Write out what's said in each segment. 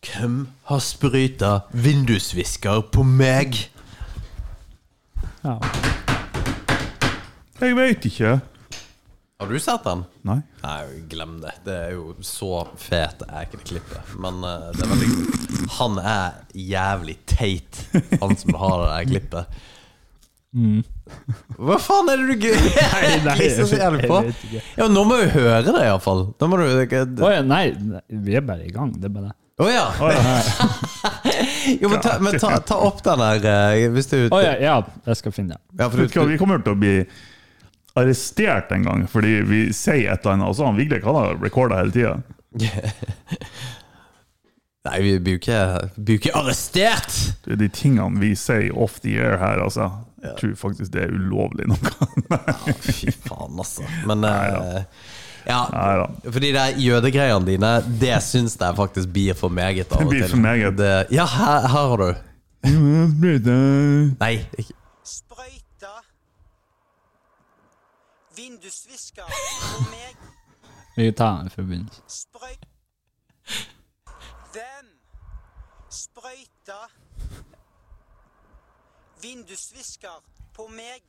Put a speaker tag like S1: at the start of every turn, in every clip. S1: Hvem har spruta vindusvisker på meg?
S2: Ja.
S3: Jeg veit ikke.
S4: Har du sett den?
S3: Nei.
S4: Nei, glem det. Det er jo så fet er ikke det klippet. Men eh, det er veldig kult. Han er jævlig teit, han som har det der klippet.
S2: Mm.
S4: Hva faen er det du gøy- egentlig så jævlig på?
S2: jeg vet ikke.
S4: Ja, nå må vi høre det, iallfall. Da må du Å
S2: Å ja, nei, nei, vi er bare i gang. Det er bare det.
S4: ja! Jo, men ta, men ta, ta opp den der, eh, hvis du
S2: Å ja, ja, jeg skal finne det.
S4: Ja, for
S3: Vet du hva,
S4: du
S3: vi kommer til å bli arrestert en gang fordi vi sier et eller annet. Altså, han Vigleik han har recorda hele tida.
S4: Nei, vi blir jo ikke- blir jo ikke arrestert!
S3: Det er de tingene vi sier off the air her, altså. Jeg tror faktisk det er ulovlig noe.
S4: Fy faen, altså. Men eh, ja,
S3: Neida.
S4: fordi de jødegreiene dine, det syns jeg faktisk blir for meget av
S3: Det
S4: og
S3: blir
S4: til.
S3: for meget.
S4: Det, ja, her, her har du. Nei, ikke.
S5: Sprøyta Vindusvisker på meg
S2: Vi tar den fra begynnelsen.
S5: Sprøyt Hvem Sprøyta Vindusvisker på meg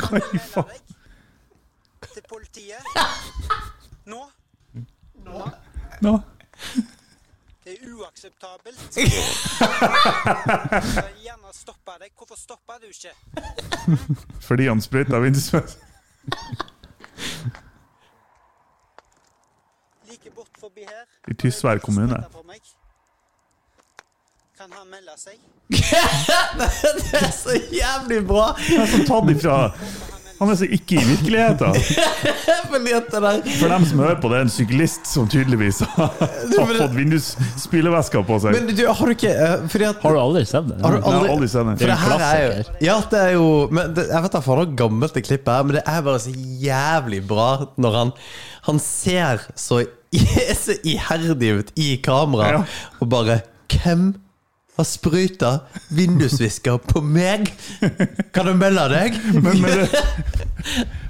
S3: Hva i faen?
S5: Melder deg Til politiet Nå
S3: Nå?
S5: Det er uakseptabelt Jeg vil gjerne stoppe deg Hvorfor stopper du ikke?
S3: Fordi han sprøyta vindusvett?
S5: Like bort forbi her.
S3: I Tysvær kommune.
S5: Spytter på meg. Kan han melde seg?
S4: Det er så jævlig bra!
S3: Tatt ifra Han er så ikke i virkeligheten.
S4: Fordi at det der
S3: For dem som hører på, det er en syklist som tydeligvis har, har fått vindusspyleveska på seg.
S4: Men du, har du ikke eh, Fordi at
S2: Har du aldri sett det?
S4: Har du
S3: Jeg har
S4: aldri
S3: aldri sett den.
S4: For det
S2: Det er en
S4: her er jo
S2: klassiker.
S4: Ja, det er jo men det, Jeg vet da faen hvor gammelt det klippet er, men det er bare så jævlig bra når han Han ser så, i- så iherdig ut i kamera
S3: Ja.
S4: og bare Hvem har spruta vindusvisker på meg? Kan du melde deg?
S3: Men, men det,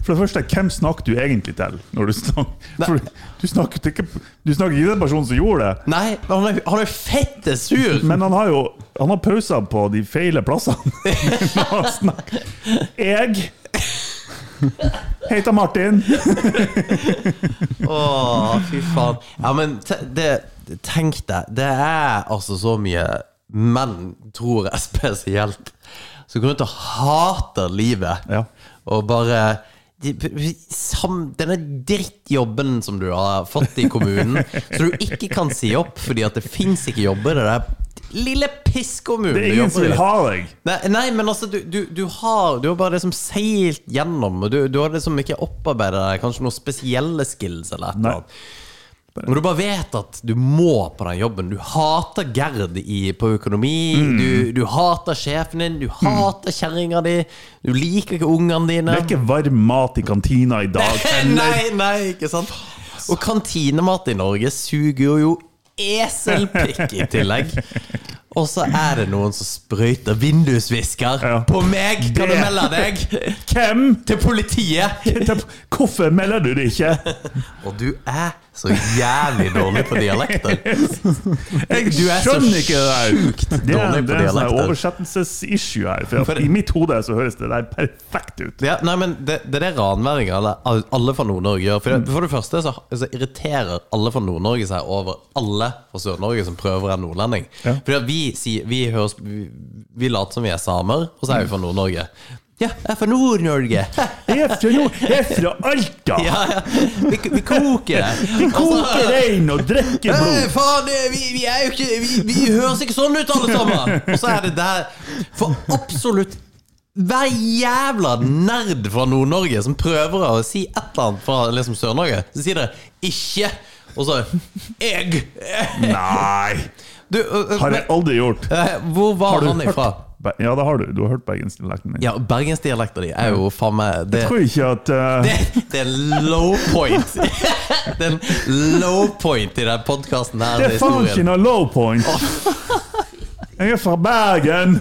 S3: for det første, hvem snakker du egentlig til? Når du snakker, for du snakker til ikke Du snakker ikke til den personen som gjorde det.
S4: Nei, men han er, han er fette sur!
S3: Men han har jo Han har pauser på de feile plassene. Når han snakker. Jeg heter Martin.
S4: Åh, fy faen. Ja, men te, det, tenk deg. Det er altså så mye menn, tror jeg spesielt, som går rundt og hater livet.
S3: Ja.
S4: Og bare de, sam, Denne drittjobben som du har fått i kommunen, så du ikke kan si opp fordi at det fins ikke jobber i den der lille pisskommunen
S3: Det er
S4: du
S3: ingen
S4: jobber
S3: som
S4: i.
S3: vil ha deg.
S4: Nei, nei, men altså, du, du, du, har, du har bare liksom seilt gjennom, og du, du har liksom ikke opparbeidet deg kanskje noen spesielle skills eller et
S3: Nei.
S4: eller annet. Når du bare vet at du må på den jobben. Du hater Gerd i, på økonomi,
S3: Mm.
S4: du, du hater sjefen din, du hater kjerringa di, du liker ikke ungene dine.
S3: Det er ikke varm mat i kantina i dag.
S4: Nei, nei, ikke sant?
S3: altså.
S4: Og kantinemat i Norge suger jo eselpikk i tillegg. Og så er det noen som sprøyter vindusvisker
S3: Ja.
S4: på meg! Kan du
S3: Det-
S4: melde deg?
S3: Hvem?
S4: Til politiet!
S3: Hvorfor melder du det ikke?
S4: Og du er så jævlig dårlig på dialekter.
S3: Jeg
S4: Du er så
S3: skjønner ikke det
S4: sjukt
S3: der. Det
S4: dårlig på
S3: er, det er en sånn
S4: dialekter.
S3: oversettelsesissue her. For,
S4: For-
S3: I mitt hode så høres det der perfekt ut.
S4: Ja, nei, men det, det er det ranværinger alle- alle fra Nord-Norge gjør. For
S3: Mm.
S4: det, for det første så, så irriterer alle fra Nord-Norge seg over alle fra Sør-Norge som prøver å være nordlending.
S3: Ja. Mm.
S4: Fordi at vi, sier- vi, høres, vi, vi later som vi er samer, og så er vi fra Nord-Norge. Ja, jeg er fra Nord-Norge.
S3: Jeg er fra nord, jeg er fra Alta!
S4: Ja, Altså- ja. Vi, vi koker det.
S3: Vi koker rein og drikker
S4: Hey,
S3: blod!
S4: faen, eh, vi, vi er jo ikke vi, vi høres ikke sånn ut, alle sammen! Og så er det der For absolutt hver jævla nerd fra Nord-Norge som prøver å si et eller annet fra liksom Sør-Norge, så sier dere 'ikke', og så 'jeg'.
S3: Nei!
S4: Du, øh, øh,
S3: Har jeg aldri gjort.
S4: men, eh, hvor var han ifra?
S3: Be- Ja, det har du. Du har hørt bergensdialekten min.
S4: Ja, bergensdialekta di er jo faen meg det,
S3: Jeg tror ikke at eh,
S4: det, det er en low point. Det er en low point i den podkasten her.
S3: Det er
S4: den
S3: faen
S4: historien.
S3: ikke noe low point! Jeg er fra Bergen!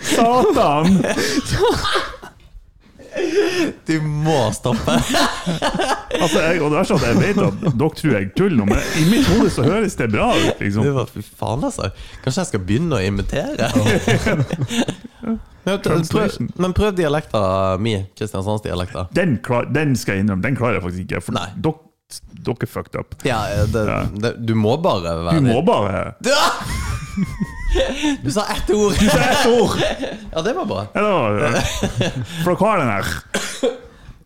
S3: Satan!
S4: Du må stoppe.
S3: Altså, jeg, og det verste er at jeg vet at dere tror jeg tuller nå, men i mitt hode så høres det bra ut, liksom.
S4: Det var, fy faen, altså. Kanskje jeg skal begynne å imitere? men, prøv,
S3: Translation.
S4: men prøv dialekta mi. Kristiansandsdialekta.
S3: Den, klar, den skal jeg innrømme, den klarer jeg faktisk ikke, for
S4: Nei.
S3: dere, dere er fucked up.
S4: Ja, eh, det,
S3: Ja.
S4: det, du må bare være
S3: Du må bare
S4: Du, du sa ett ord!
S3: Det er ett ord!
S4: Ja, det var bra.
S3: Ja, det var det. For dere har den her.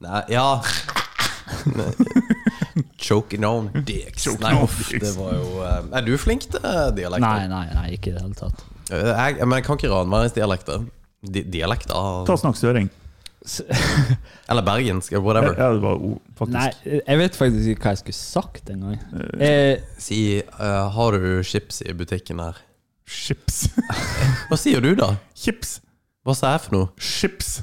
S4: Nei, ja Choking on dicks.
S3: Choking
S4: nei,
S3: on
S4: uff,
S3: dicks.
S4: det var jo eh, Er du flink til dialekter?
S2: Nei, nei, nei, ikke i det hele tatt.
S4: Eh, Jeg, men jeg kan ikke ranværingsdialekter. Di dialekter?
S3: Ta og snakk søring.
S4: Eller bergensk, whatever.
S3: Ja, det var o,
S2: Nei,
S3: faktisk.
S2: jeg vet faktisk ikke hva jeg skulle sagt engang. Eh,
S4: Si eh, 'Har du chips i butikken her?'
S3: Chips.
S4: Hva sier du, da?
S3: Chips.
S4: Hva sa jeg for noe?
S3: Chips.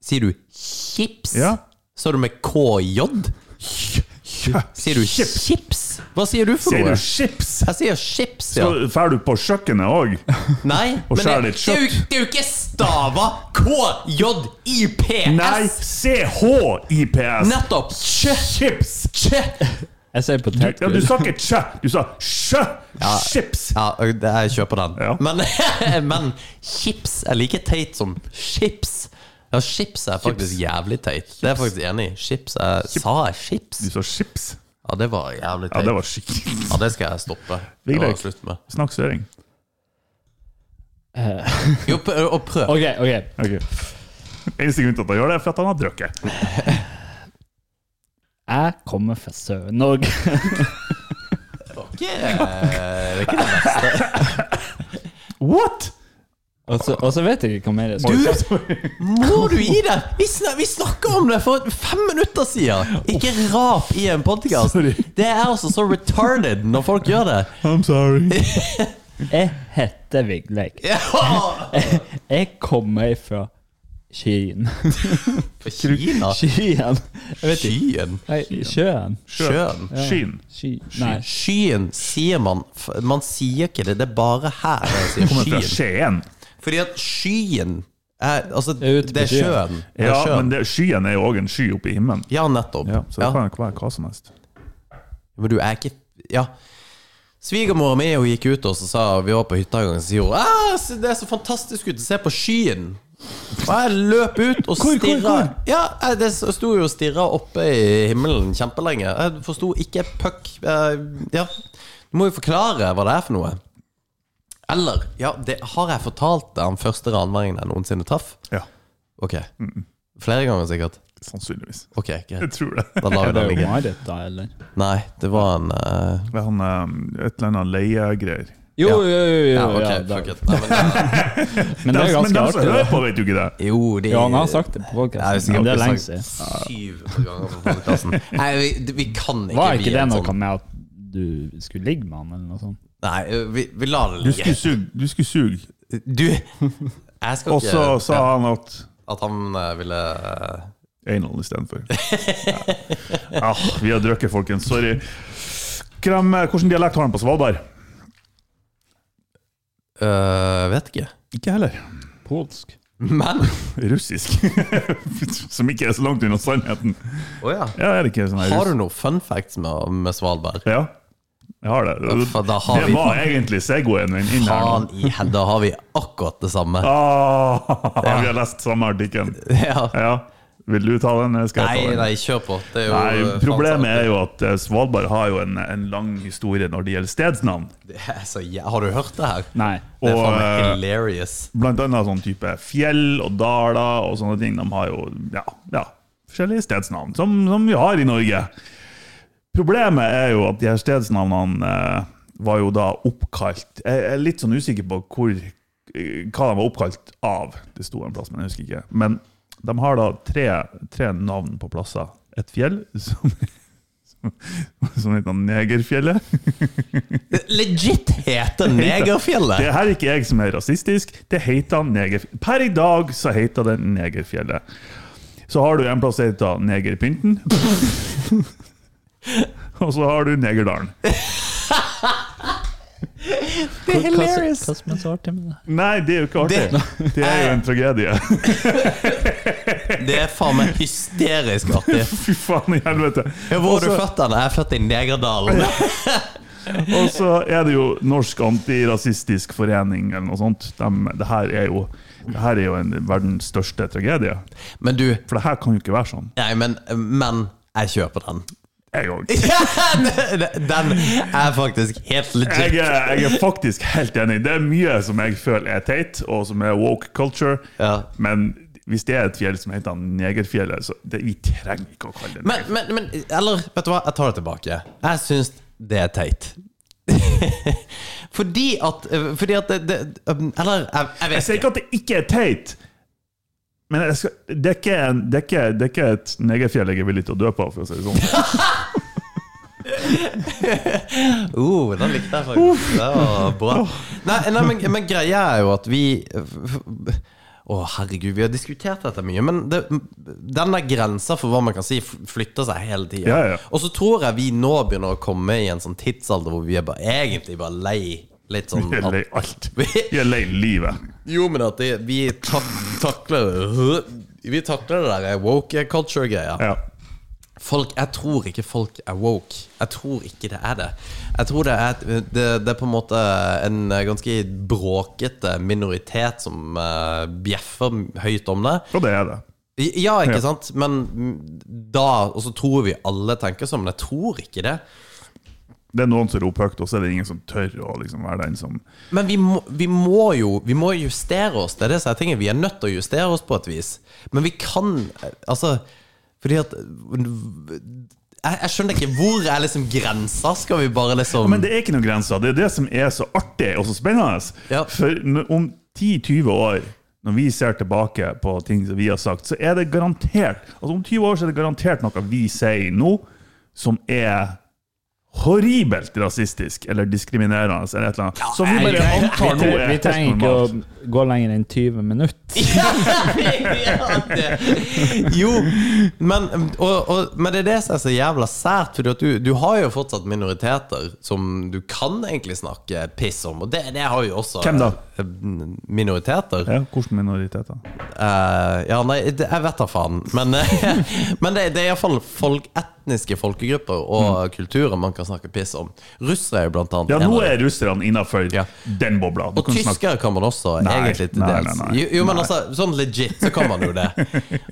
S4: Sier du chips?
S3: Ja.
S4: Sa du med KJ? Sier du chips? Hva sier du for
S3: Sier
S4: noe?
S3: du chips?
S4: Jeg sier chips, ja.
S3: Så drar du på kjøkkenet òg.
S4: Nei,
S3: Og skjær
S4: men det,
S3: litt
S4: det, er jo, det er jo ikke stava KJIPS!
S3: Nei, CHIPS.
S4: Nettopp! Kjø,
S3: Chips.
S4: kjø.
S2: jeg sier
S3: Du, ja, du
S2: potetgull.
S3: sa ikke tjø, du sa sjø. Chips.
S4: Ja, det- jeg kjøper den.
S3: Ja.
S4: Men, men chips er like teit som chips. Ja, chips er faktisk jævlig teit. Det er jeg faktisk enig i. Chips er Sa jeg chips?
S3: Du sa chips.
S4: Ja, det var jævlig
S3: Ja,
S4: teit.
S3: det var skikkelig
S4: Ja, det skal jeg stoppe. Det
S3: Vigdøk.
S4: var slutt med.
S3: Snakk søring.
S2: Eh,
S4: Jo, prøv, og prøv.
S2: Ok, ok.
S3: Ok. Eneste grunn til at han gjør det, er for at han har drukket.
S2: Jeg kommer fra Sør-Norge.
S4: Ok, eh, det er ikke det.
S3: What?!
S2: Og så og så vet jeg ikke hva mer jeg skal
S4: Du, må du gi deg? Vi, snak, vi snakka om det for fem minutter siden! Ikke rap i en podkast.
S3: Sorry.
S4: Det er altså så retarded når folk gjør det.
S3: I'm sorry.
S2: Jeg heter Vigleik.
S4: Ja.
S2: Jeg kommer fra Skien.
S4: Kina.
S2: Skien? Jeg vet ikke.
S4: Skyen.
S2: Nei, sjøen.
S4: Sjøen.
S3: Skyen.
S2: Sky. Nei.
S4: Skyen sier man f- Man sier ikke det, det er bare her man
S3: Kommer fra
S4: sier skyen.
S3: Skien.
S4: Fordi at skyen er Altså,
S2: er ute på
S4: det er
S2: skyen.
S4: sjøen. Det er
S3: Ja, men
S4: sjøen.
S3: det, skyen er jo òg en sky oppe i himmelen.
S4: Ja, nettopp.
S3: Ja, så det
S4: Ja.
S3: kan jo være hva som helst.
S4: Men du er ikke Ja. Svigermora mi hun gikk ut og så sa vi var på hytta en gang, så sier hun «Ah, se, det er så fantastisk ut, se på skyen. Og jeg løp ut og
S3: Hvor, hvor,
S4: stirra.
S3: hvor?
S4: Ja, jeg- det sto jo og stirra oppe i himmelen kjempelenge. Jeg forsto ikke puck. Eh, Ja. Du må jo forklare hva det er for noe. Eller Ja, det har jeg fortalt den første ranværingen jeg noensinne traff?
S3: Ja,
S4: Ok. Flere ganger sikkert?
S3: sannsynligvis.
S4: Ok,
S3: Jeg
S4: greit.
S3: tror det.
S4: Da lar vi
S2: Det
S4: den
S2: er jo
S4: ligge.
S2: Marit, da, eller?
S4: Nei, det var en eh,
S3: Det er han, eh, et eller annet leiegreier.
S2: Jo, jo, jo. jo,
S4: Ja,
S2: ja,
S4: ok,
S2: da.
S4: fuck it. Nei, men,
S2: Men det er
S3: men
S2: ganske
S3: de som
S2: artig.
S3: hører
S2: da.
S3: på, vet jo ikke det.
S4: Jo, det
S2: Ja, han har sagt det
S4: Nei,
S2: på podkasten,
S4: sikkert
S2: men det er
S4: ikke
S2: lenge
S4: sagt
S2: siden.
S4: 700 ganger på podcasten. Nei, vi, vi kan ikke
S2: Var
S4: bli
S2: ikke det
S4: en
S2: noe
S4: sånn
S2: med at du skulle ligge med han, eller noe sånt?
S4: Nei, vi, vi lar det
S3: Du
S4: ligge.
S3: skulle suge. Du skulle suge.
S4: Du Jeg skal
S3: Og så
S4: ikke
S3: sa han at
S4: At han eh, ville eh,
S3: Anal istedenfor. Ja. Ah, vi har drukket, folkens. Sorry. Hvem, hvordan dialekt har han på Svalbard?
S4: øh, Vet ikke.
S3: Ikke heller.
S2: Polsk.
S4: Men
S3: Russisk. Som ikke er så langt unna sannheten.
S4: Å ja.
S3: Ja, er det ikke sånn her
S4: Har du noen fun facts med, med Svalbard?
S3: Ja, jeg har det.
S4: Uff, da har
S3: det
S4: vi-
S3: var egentlig Segwayen min inn her nå.
S4: Faen i he- Da har vi akkurat det samme.
S3: Ah,
S4: Ja.
S3: Vi har lest samme artikkelen.
S4: Ja.
S3: Ja. Vil du ta den? eller Skal jeg ta
S4: Nei,
S3: den?
S4: nei, kjør på. Det er jo
S3: Nei, Problemet er jo at eh, Svalbard har jo en, en lang historie når det gjelder stedsnavn.
S4: Det er så jæ- Har du hørt det her?
S2: Nei.
S4: Det er
S3: Og,
S4: faen meg
S3: eh,
S4: hilarious.
S3: Blant annet sånn type fjell og daler og sånne ting. De har jo ja, ja, forskjellige stedsnavn, som, som vi har i Norge. Problemet er jo at de her stedsnavnene eh, var jo da oppkalt Jeg er litt sånn usikker på hvor, eh, hva de var oppkalt av. Det sto en plass, men jeg husker ikke. Men de har da tre, tre navn på plasser. Et fjell som, som, som heter Negerfjellet.
S4: Det legit heter Negerfjellet!
S3: Det her er ikke jeg som er rasistisk, det heter Negerfjellet. Per i dag så heter det Negerfjellet. Så har du en plass som heter Negerpynten. Og så har du Negerdalen.
S4: Det er
S2: Hva, hva,
S4: hilarious!
S2: hva som er så artig med det?
S3: Nei, det er jo ikke artig. Det er jo en tragedie.
S4: Det er faen meg hysterisk artig.
S3: Fy faen i helvete.
S4: Ja, Hvor er du
S3: Også-
S4: født? da? Jeg er født i Negerdalen.
S3: Og så er det jo Norsk antirasistisk forening eller noe sånt. De, det, her er jo, det her er jo en verdens største tragedie.
S4: Men du
S3: For det her kan jo ikke være sånn.
S4: Nei, men, men jeg kjøper den.
S3: Jeg òg.
S4: Den er faktisk helt legit.
S3: jeg, er, jeg er faktisk helt enig. Det er mye som jeg føler er teit, og som er woke culture.
S4: Ja.
S3: Men hvis det er et fjell som heter Negerfjellet, så det, vi trenger ikke å kalle det
S4: Men, men, men Eller, vet du hva? Jeg tar det tilbake. Jeg syns det er teit. fordi at eh, Fordi at det, det um, Eller, jeg, jeg
S3: Jeg
S4: vet
S3: sier ikke at det ikke er teit, men jeg skal, det, er ikke, en- det, er ikke, det er ikke et negerfjell jeg er villig til å dø på, for å si det sånn.
S4: Oh, den likte jeg faktisk. Det var bra. Nei, nei men, men greia er jo at vi Å, herregud, vi har diskutert dette mye, men det, den der grensa for hva man kan si, f- flytter seg hele tida.
S3: Ja, ja.
S4: Og så tror jeg vi nå begynner å komme i en sånn tidsalder hvor vi er bare, egentlig bare lei litt sånn
S3: Vi er
S4: at,
S3: lei alt. Vi er lei livet.
S4: Jo, men at det, vi tak- takler Vi takler det der woke culture-greia.
S3: Ja.
S4: Folk, jeg tror ikke folk er woke. Jeg tror ikke det er det. Jeg tror det er, det, det er på en måte en ganske bråkete minoritet som eh, bjeffer høyt om det.
S3: Og det er det.
S4: I- Ja, ikke
S3: Ja.
S4: sant? Men da Og så tror vi alle tenker sånn, men jeg tror ikke det.
S3: Det er noen som roper høyt, og så er det ingen som tør å liksom være den som
S4: Men vi må, vi må jo Vi må justere oss. Det er det som er tingen. Vi er nødt til å justere oss på et vis. Men vi kan Altså, fordi at jeg, jeg skjønner ikke hvor er liksom grensa? Skal vi bare liksom
S3: Men det er ikke noen grenser. Det er det som er så artig og så spennende.
S4: Ja.
S3: For n- om 10-20 år, når vi ser tilbake på ting som vi har sagt, så er det garantert Altså om 20 år så er det garantert noe vi sier nå, som er horribelt rasistisk eller diskriminerende eller et eller annet. Som vi bare
S4: jeg-
S3: antar nå er
S2: Vi
S3: helt
S2: trenger ikke
S3: normalt.
S2: å gå lenger enn 20 minutter.
S4: ja, det. Jo, men, og, og, men det er det som er så jævla sært. For du, du har jo fortsatt minoriteter som du kan egentlig snakke piss om, og det, det har vi jo også.
S3: Hvem da?
S4: Minoriteter.
S3: Ja, hvordan minoriteter?
S4: Eh, ja, nei, det, jeg vet da faen. Men, men det, det er iallfall folk, etniske folkegrupper og kulturer man kan snakke piss om. Russere er jo blant annet
S3: Mm. Ja,
S4: en
S3: nå
S4: av dem.
S3: er russerne innafor
S4: Ja.
S3: den bobla. Du
S4: Og
S3: kan snakke-
S4: tyskere kan man også,
S3: Nei,
S4: egentlig til
S3: nei,
S4: dels.
S3: nei, nei,
S4: Jo, jo, men
S3: nei.
S4: altså, sånn legit så kan man jo det.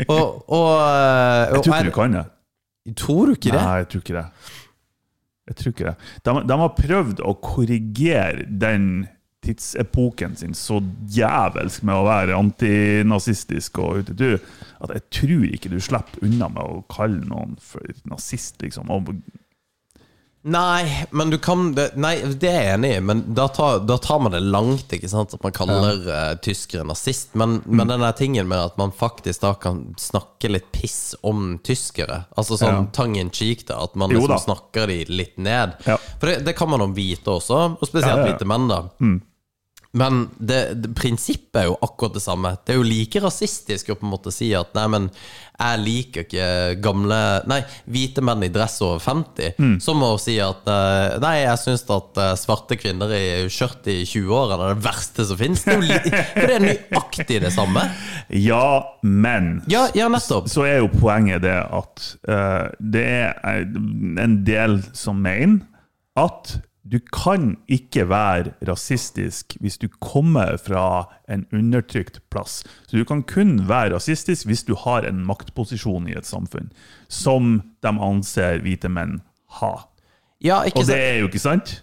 S4: Og, og, eh, og
S3: Jeg tror ikke du kan det.
S4: Tror du ikke det?
S3: Nei, jeg tror ikke det. Jeg tror ikke det. De, de har prøvd å korrigere den tidsepoken sin så jævelsk med å være antinazistisk og utetur, at jeg tror ikke du slipper unna med å kalle noen for nazist, liksom. Og,
S4: Nei, men du kan det- Nei, det er jeg enig i, men da tar, da tar man det langt, ikke sant? At man kaller eh, tyskere nazist. Men,
S3: Mm.
S4: men den der tingen med at man faktisk da kan snakke litt piss om tyskere, altså sånn
S3: Ja.
S4: tongue in cheek, da, at man
S3: Jo
S4: liksom
S3: da.
S4: snakker de litt ned.
S3: Ja.
S4: For det, det kan man om hvite også, og spesielt
S3: Ja, ja, ja.
S4: hvite menn, da. Men det, det, prinsippet er jo akkurat det samme. Det er jo like rasistisk å på en måte si at nei, men jeg liker ikke gamle Nei, hvite menn i dress over 50. Som å si at eh, nei, jeg syns at eh, svarte kvinner i skjørt i 20-årene er det verste som fins. Det er jo li for det er nøyaktig det samme.
S3: ja, men
S4: Ja, ja nettopp.
S3: så er jo poenget det at eh, det er en del som mener at Du kan ikke være rasistisk hvis du kommer fra en undertrykt plass. Så du kan kun være rasistisk hvis du har en maktposisjon i et samfunn som de anser hvite menn ha.
S4: Ja, ikke
S3: Og det
S4: sant?
S3: er jo ikke sant?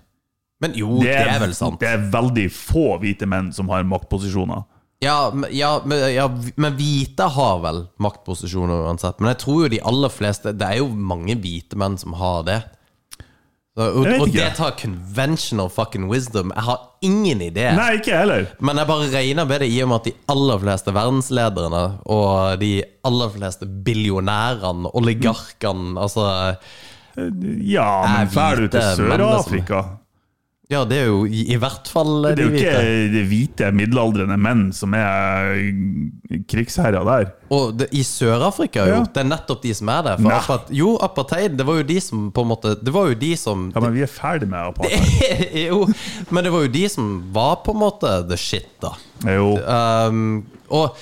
S4: Men jo, det er vel sant.
S3: Det er veldig få hvite menn som har maktposisjoner.
S4: Ja, men- ja, men- ja, men hvite har vel maktposisjoner uansett. Men jeg tror jo de aller fleste Det er jo mange hvite menn som har det. Så, og,
S3: Jeg vet
S4: og
S3: ikke.
S4: det tar conventional fucking wisdom. Jeg har ingen idé.
S3: Nei, ikke jeg heller.
S4: Men jeg bare regner med det i og med at de aller fleste verdenslederne og de aller fleste billionærene, oligarkene Altså,
S3: Ja,
S4: Er
S3: men drar du
S4: hvite
S3: til
S4: menn altså. det som-
S3: Sør-Afrika
S4: ja, det er jo i, i hvert fall
S3: Det
S4: de
S3: er jo
S4: hvite.
S3: ikke de hvite middelaldrende menn som er krigsherrer der.
S4: Og det, i Sør-Afrika, jo.
S3: Ja.
S4: Det er nettopp de som er der. For
S3: Nei.
S4: apart, jo, apartheid, det var jo de som på en måte Det var jo de som
S3: Ja, men vi er ferdig med apartheid.
S4: Jo, men det var jo de som var på en måte the shit, da.
S3: Jo.
S4: Um, og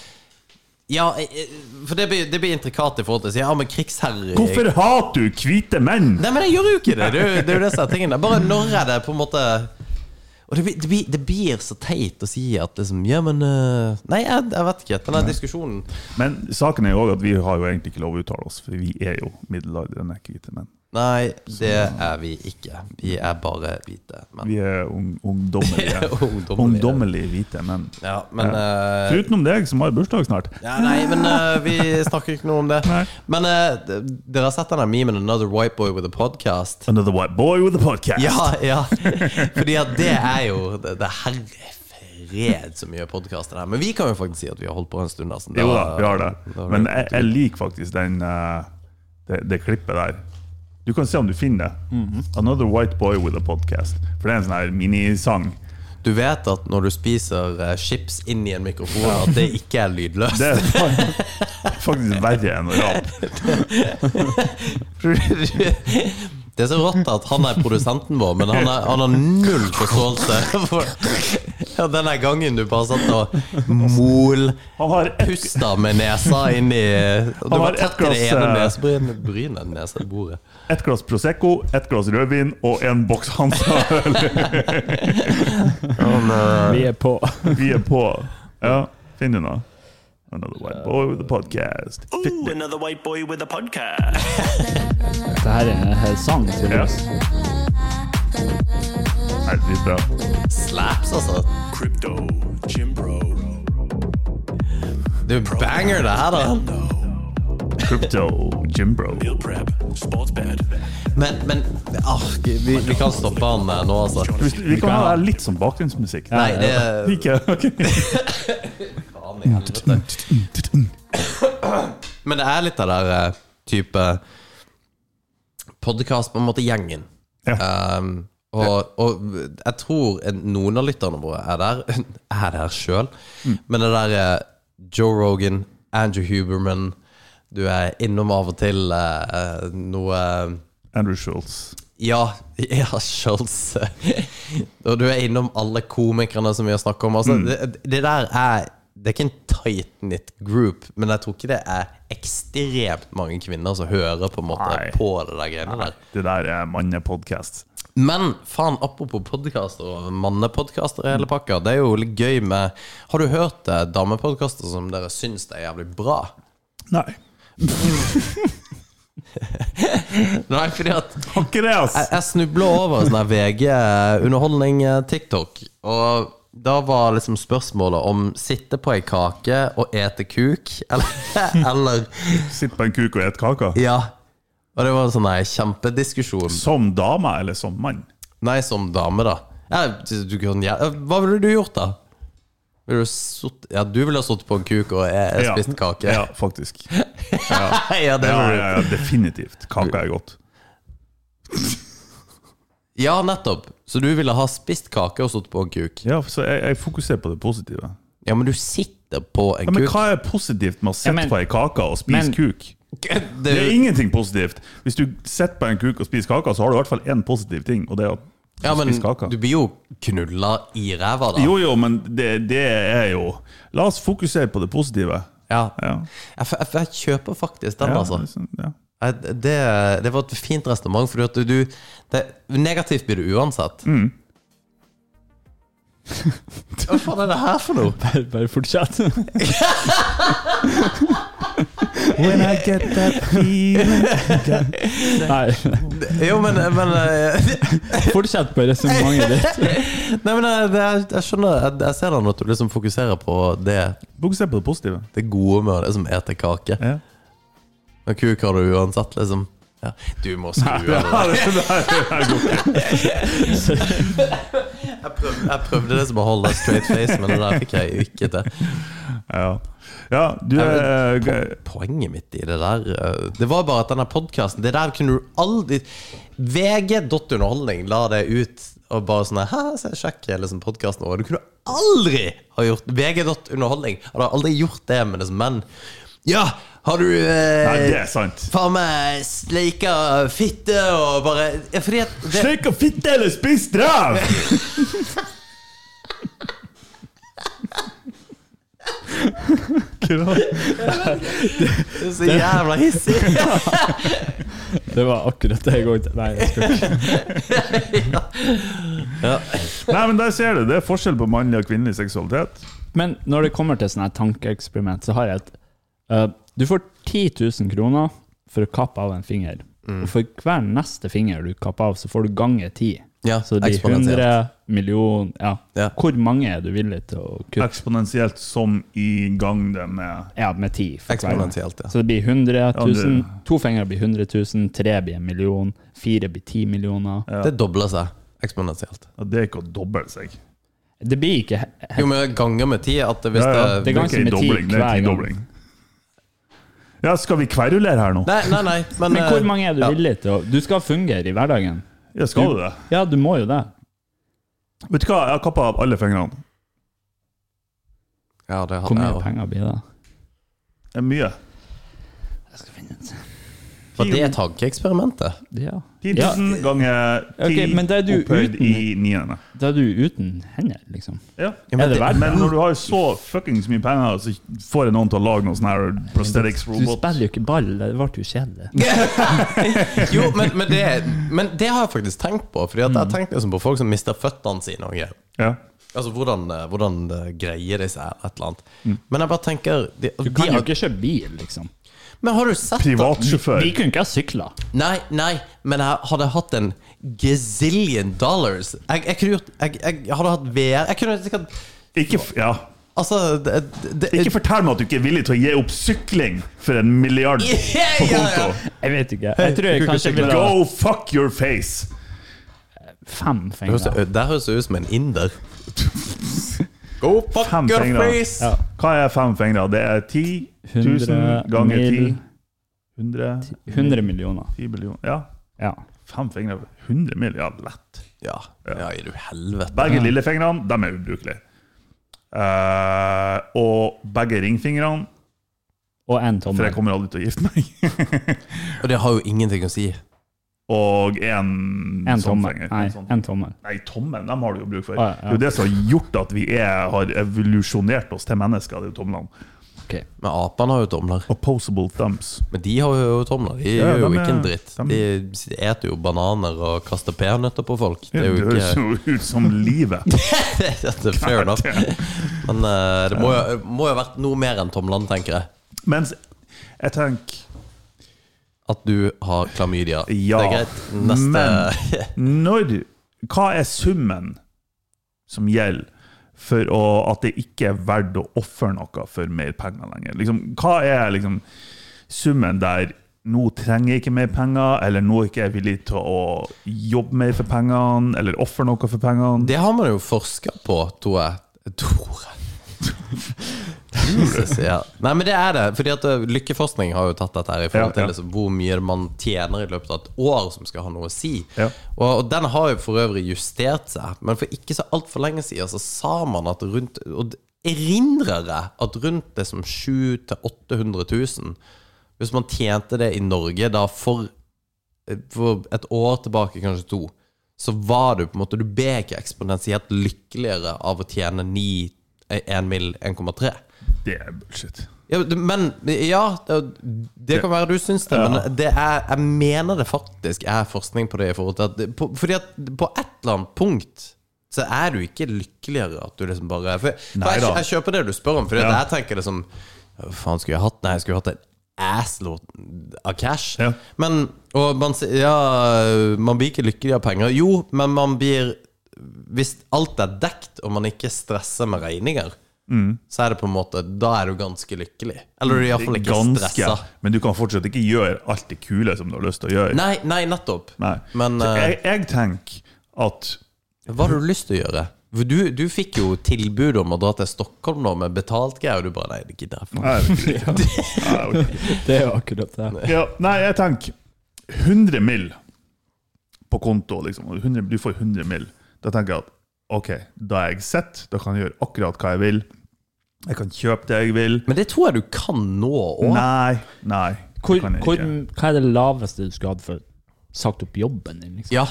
S4: ja, jeg- jeg- for det blir, det blir intrikat i forhold til å si ja, men krigsherrer
S3: Hvorfor hater du hvite menn?
S4: Nei, men jeg gjør jo ikke det. Det er jo det, er jo det som er tingen. Det er Bare når er det på en måte Og det, blir- det, blir, det blir så teit å si at liksom Ja, men øh, Nei, jeg, jeg vet ikke. Den der diskusjonen
S3: Men saken er jo òg at vi har jo egentlig ikke lov å uttale oss, for vi er jo middelaldrende hvite menn.
S4: Nei, det er vi ikke. Vi er bare hvite. Men,
S3: Vi er ung, ungdommelige.
S4: Ungdommelige.
S3: ungdommelige hvite menn.
S4: ja, men øh,
S3: Foruten om deg, som har bursdag snart.
S4: ja, Nei, men øh, vi snakker ikke noe om det.
S3: Nei.
S4: Men øh, d- dere har sett den der memen 'Another white boy with a podcast'?
S3: Another white boy with a podcast.
S4: Ja, ja. Fordi at det er jo Det, det er herre fred så mye podkaster her. Men vi kan jo faktisk si at vi har holdt på en stund. Altså.
S3: Jo da, vi har det.
S4: da-
S3: Men jeg, jeg liker faktisk den, eh, det, det klippet der. Du kan se om du finner det. Another white boy with a podcast. For det er en sånn her minisang.
S4: Du vet at når du spiser eh, chips inn i en mikrofon, at det ikke er lydløst.
S3: Det er fa- faktisk verre enn å rape.
S4: Det er så rått at han er produsenten vår, men han, er, han har null forståelse for ja, den der gangen du bare satt og molpusta
S3: Han har ett
S4: med nesa inn i Du
S3: Han har
S4: var
S3: ett
S4: tett i det
S3: glass,
S4: ene
S3: eh,
S4: nesebrynet brynet, nesebordet.
S3: ett glass Prosecco, ett glass rødvin og en boks Hansa-øl.
S2: Vi er på.
S3: Vi er på. Ja, finn du noe? Another white boy with a podcast.
S6: Ooh, another white boy with a podcast.
S2: Dette her er en hel sang,
S3: Ja.
S2: tydeligvis.
S3: Nei, det er bra.
S4: Slaps, altså.
S6: Crypto, Jim Bro,
S4: Du banger det her, da.
S3: Crypto, Jimbro.
S6: meal prep, sports bet.
S4: Men, men ah, vi, vi kan stoppe han eh, nå, altså.
S3: Vi, vi kan ha litt sånn bakgrunnsmusikk.
S4: Nei, det er
S3: Ikke? ok.
S4: faen i helvete. Men det er litt av der eh, type podkast på en måte gjengen.
S3: Ja.
S4: Um, og, og jeg tror en- noen av lytterne våre er der. Jeg er der sjøl.
S3: Mm.
S4: Men det der eh, Joe Rogan, Andrew Huberman Du er innom av og til eh, eh, noe
S3: Andrew Schultz.
S4: Ja, ja Schultz. Og du er innom alle komikerne som vi har snakket om. Altså, det, det der er Det er ikke en tight-knit group, men jeg tror ikke det er ekstremt mange kvinner som hører på, en måte,
S3: Nei.
S4: på det der greiene der.
S3: Det der eh, er mannepodkast.
S4: Men faen, apropos podkaster og mannepodkaster i hele pakka. Det er jo litt gøy med Har du hørt eh, damepodkaster som dere syns er jævlig bra?
S3: Nei.
S4: Nei, fordi at
S3: Har ikke det, ass!
S4: jeg, jeg snubla over sånn her VG underholdning eh, TikTok. Og da var liksom spørsmålet om sitte på ei kake og ete kuk, eller, eller
S3: Sitt på en kuk og et kaka.
S4: Ja. Og det var en sånn her kjempediskusjon.
S3: Som dame eller som mann?
S4: Nei, som dame, da. Ja, du kan, ja. Hva ville du gjort, da? Ville du sutt, ja, du ville ha sittet på en kuk og eh,
S3: Ja.
S4: spist kake?
S3: Ja, faktisk.
S4: ja, det
S3: Ja,
S4: ville du.
S3: ja, ja, definitivt. Kaka er godt.
S4: ja, nettopp. Så du ville ha spist kake og sittet på en kuk?
S3: Ja, så jeg, jeg fokuserer på det positive.
S4: Ja, men du sitter på en
S3: Ja, men
S4: kuk.
S3: hva er positivt med å sitte
S2: Ja, men-
S3: på ei kake og spise
S2: men-
S3: kuk?
S4: Det
S3: Det
S4: er
S3: er
S4: jo-
S3: ingenting positivt. Hvis du sitter på en kuk og spiser kaka, så har du i hvert fall én positiv ting, og det er at du
S4: Ja, men
S3: spiser kaka.
S4: du blir jo knulla i ræva, da.
S3: Jo, jo, men det, det er jo La oss fokusere på det positive.
S4: Ja.
S3: Ja.
S4: Jeg, f- jeg, f- jeg kjøper faktisk den,
S3: Ja,
S4: altså.
S3: det er sånn, ja.
S4: Nei, Det, det var et fint resonnement, for du, du det, Negativt blir det uansett.
S3: Mm.
S4: Hva faen er det her for noe?
S2: Bare, bare fortsett.
S3: When I get that feeling
S2: Nei,
S4: Jo, men, men eh,
S2: fortsett på resonnementet ditt.
S4: Nei, men jeg, jeg, jeg skjønner jeg, jeg ser da at du liksom fokuserer på det,
S3: Fokuser på det positive.
S4: det gode med det som eter kake.
S3: Ja.
S4: Men kuk har du uansett, liksom. Ja. Du må skru av det. Jeg prøvde, jeg prøvde det som å holde straight face, men det der fikk jeg ikke til.
S3: Ja, ja du er eh,
S4: Poenget mitt i det der eh, Det var bare at denne podkasten Det der kunne du aldri VG.underholdning la det ut og bare sånn Hæ, så sjekk liksom podkasten vår. Du kunne aldri ha gjort VG.underholdning hadde aldri gjort det med liksom menn. Ja, har du eh,
S3: Nei, det er sant.
S4: Faen meg sleika fitte og bare ja, Fordi at det,
S3: Slik å fitte eller spis dræv! Hva?
S4: det er så jævla hissig.
S2: Det var akkurat det jeg går til. Nei, jeg skal ikke.
S3: Nei, men der ser du. Det er forskjell på mannlig og kvinnelig seksualitet.
S2: Men når det kommer til sånne her tankeeksperiment, så har jeg et eh, Du får 10 000 kroner for å kappe av en finger.
S4: Mm.
S2: Og for hver neste finger du kapper av, så får du gange 10.
S4: Ja,
S2: så de
S4: eksponentielt.
S2: 100 millioner ja.
S4: Ja.
S2: Hvor mange er du villig til å kutte?
S3: Eksponentielt som i gang det med
S2: Ja, med 10. for hver gang.
S4: Eksponentielt, ja.
S2: Så det blir 100 000.
S3: Ja, det-
S2: To fingre blir 100 000, tre blir en million, fire blir 10 millioner.
S4: Det dobler seg eksponentielt.
S3: at det er ikke å doble seg.
S2: Det blir ikke he- he-
S4: Jo, men ganger med ti at det- hvis
S3: Ja, ja,
S4: det
S2: Det er ganske
S3: ikke en
S2: med ti
S3: dobling, det er
S2: hver
S3: ikke en
S2: gang.
S3: dobling. Ja, skal vi kverulere her nå?
S4: Nei, nei, nei, men,
S2: Men hvor
S4: eh,
S2: mange er du
S4: ja.
S2: villig til å Du skal fungere i hverdagen.
S3: Ja, skal du det?
S2: Ja, du må jo det.
S3: Vet du hva, jeg har kappa av alle fingrene.
S4: Ja, det
S2: Hvor
S4: hadde jeg
S2: mye
S4: også.
S2: penger blir det?
S3: Det er mye.
S2: Jeg skal finne ut.
S4: Var det tankeeksperimentet?
S2: Ja.
S3: 10 000 ganger 10
S2: Ok, men det er du
S3: opphøyd
S2: uten-
S3: i niende.
S2: Da er du uten hender, liksom.
S3: Ja.
S4: Ja, men
S2: er det
S4: det-
S2: verdt
S3: Men når du har så fuckings mye penger, så får jeg noen til å lage noen sånn her prosthetics
S2: Du
S3: robot.
S2: spiller jo ikke ball, det ble jo kjedelig.
S4: Jo, men, men, det, men det har jeg faktisk tenkt på. Fordi at jeg har tenkt liksom på folk som mister føttene sine. og greier.
S3: Ja.
S4: Altså, hvordan, eh, hvordan eh, greier de seg et eller annet? Men jeg bare tenker de,
S2: Mm. Du
S4: de
S2: kan jo
S4: har,
S2: ikke kjøre bil, liksom.
S4: Men har du sett
S3: Privatsjåfør.
S2: Vi kunne ikke ha sykla.
S4: Nei, nei, men jeg hadde hatt en gazillion dollars. Jeg, jeg kunne gjort Jeg, jeg hadde hatt VR Jeg kunne sikkert
S3: Ikke, f- ja.
S4: Altså det, det,
S3: ikke fortell meg at du ikke er villig til å gi opp sykling for en milliard
S4: Ja,
S3: på
S4: ja, ja.
S3: konto.
S2: Jeg vet ikke. Jeg tror jeg
S4: du kunne
S2: kanskje
S4: ikke
S2: ville ha
S3: Go fuck your face!
S2: fem
S4: Det høres-
S2: fingre.
S4: Det høres ut som en inder. Go fuck
S3: Fem
S4: your
S3: fingre.
S4: face!
S2: Ja.
S3: Hva er fem fingre? Det er 10
S2: Hundre
S3: 000 ganger 10.
S2: mil.
S3: 100
S2: 100 millioner.
S3: 10 millioner Ja,
S2: Ja.
S3: fem fingre. 100 mil, ja, lett.
S4: Ja, ja i du helvete.
S3: Begge lillefingrene, de er ubrukelige. Eh, og begge ringfingrene,
S2: Og en
S3: for jeg
S2: tommel.
S3: kommer aldri til å gifte meg.
S4: Og det har jo ingenting å si.
S3: og en,
S2: En
S3: sånn
S2: tommel.
S3: finger.
S2: Nei,
S3: En sånn.
S2: en tommel.
S3: Nei, tommelen dem har du jo bruk for.
S2: Ah, ja,
S3: Det er jo det som har gjort at vi er, har evolusjonert oss til mennesker. Det er jo tomlene.
S2: Ok.
S4: Men apene har jo tomler.
S3: Opposable thumbs.
S4: Men de har jo tomler. De
S3: Ja,
S4: gjør jo
S3: dem er-
S4: ikke en dritt.
S3: dem-
S4: De eter jo bananer og kaster peanøtter på folk. Det
S3: Det
S4: er jo
S3: høres
S4: ikke
S3: jo ut som livet.
S4: Dette er Fair enough. Men eh, det må jo, må jo ha vært noe mer enn tomlene, tenker jeg.
S3: Mens jeg tenker
S4: At du har klamydia.
S3: Ja,
S4: det er greit. Neste
S3: Når Hva er summen som gjelder for å, at det ikke er verdt å ofre noe for mer penger lenger? Liksom, hva er liksom summen der nå trenger jeg ikke mer penger, eller nå er jeg ikke jeg villig til å jobbe mer for pengene, eller ofre noe for pengene?
S4: Det har man jo forska på, tror jeg. Jeg Tror jeg. Jesus, ja. Nei, men det er det. Fordi at eh, Lykkeforskning har jo tatt dette her i forhold
S3: Ja,
S4: til
S3: ja.
S4: liksom, hvor mye man tjener i løpet av et år som skal ha noe å si.
S3: Ja.
S4: Og, og den har jo for øvrig justert seg, men for ikke så altfor lenge siden så sa man at rundt Og d- erindrer jeg at rundt det som 700 000-800 000 Hvis man tjente det i Norge da for for et år tilbake, kanskje to, så var du på en måte Du ble ikke eksponentielt eh, lykkeligere av å tjene 9, 1 mill. 1,3.
S3: Det er bullshit.
S4: Ja, d- men Ja, det- det kan være du syns det, men det er, jeg mener det faktisk er forskning på det. i forhold til at, det- på, Fordi at på et eller annet punkt så er du ikke lykkeligere at du liksom bare For, for jeg,
S3: Neida.
S4: jeg kjøper det du spør om, Fordi at
S3: Ja.
S4: jeg tenker det som Hva faen skulle jeg hatt? Nei, jeg skulle hatt en assload av cash.
S3: Ja.
S4: Men Og man sier Ja, man blir ikke lykkelig av penger. Jo, men man blir Hvis alt er dekt, og man ikke stresser med regninger
S3: Mm.
S4: så er det på en måte Da er du ganske lykkelig. Eller du er iallfall ikke
S3: Ganske.
S4: stressa.
S3: Men du kan fortsatt ikke gjøre alt det kule som du har lyst til å gjøre.
S4: Nei, nei, nettopp.
S3: Nei.
S4: Men
S3: Så
S4: eh,
S3: jeg, jeg tenker at
S4: hva har du lyst til å gjøre? For Du, du fikk jo tilbud om å dra til Stockholm nå med betalt greier, og du bare Nei, det gidder jeg faen
S3: Nei, jeg orker ikke. Nei, jeg orker ikke.
S2: Det er jo akkurat det.
S3: ja, nei, jeg tenker 100 mill. på konto, liksom. og 100, du får 100 mill. Da tenker jeg at ok, da er jeg sett, da kan jeg gjøre akkurat hva jeg vil. Jeg kan kjøpe det jeg vil.
S4: Men det tror jeg du kan nå òg.
S3: Nei, nei. det
S2: Hvor,
S3: kan jeg
S2: hvor,
S3: ikke.
S2: hva er det laveste du skulle hatt for sagt opp jobben din? liksom?
S4: Ja.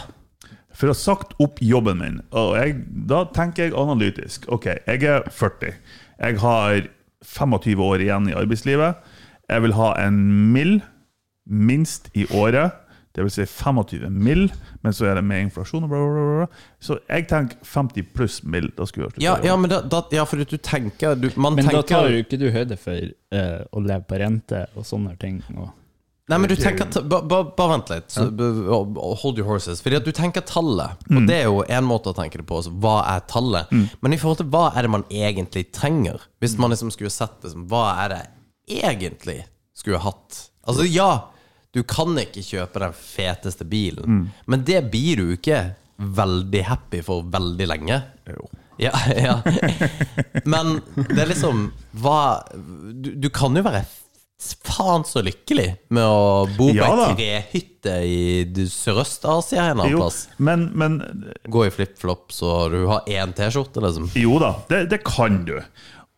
S3: For å ha sagt opp jobben min, og jeg, da tenker jeg analytisk. Ok, jeg er 40. Jeg har 25 år igjen i arbeidslivet. Jeg vil ha en mill, minst i året. Det vil si 25 mill, men så er det med inflasjon og bla, bla, bla. bla. Så jeg tenker 50 pluss mill. Da skulle jeg
S4: Ja,
S3: ha sluttet å
S4: ja,
S3: jobbe.
S4: men da, da, ja, for du tenker du, Man
S2: Men da
S4: tenker
S2: tar jo ikke du høyde for eh, å leve på rente og sånne ting. Og,
S4: Nei, men du tenker ta- ba- ba- Bare vent litt. Så, b- og- og Hold your horses. Fordi at du tenker tallet, og det er jo én måte å tenke det på. Altså, hva er tallet? Men i forhold til hva er det man egentlig trenger? Hvis man liksom skulle sett det som Hva er det jeg egentlig skulle hatt? Altså, ja, du kan ikke kjøpe den feteste bilen, men det blir du ikke veldig happy for veldig lenge.
S3: Jo.
S4: Ja, ja. Men det er liksom hva, du, du kan jo være f- faen så lykkelig med å bo på
S3: Ja
S4: ei
S3: da.
S4: trehytte i d- Sørøst-Asia en annen
S3: Jo,
S4: plass.
S3: men, men
S4: Gå i flipflops og du har én T-skjorte, liksom.
S3: Jo da, det, det kan du.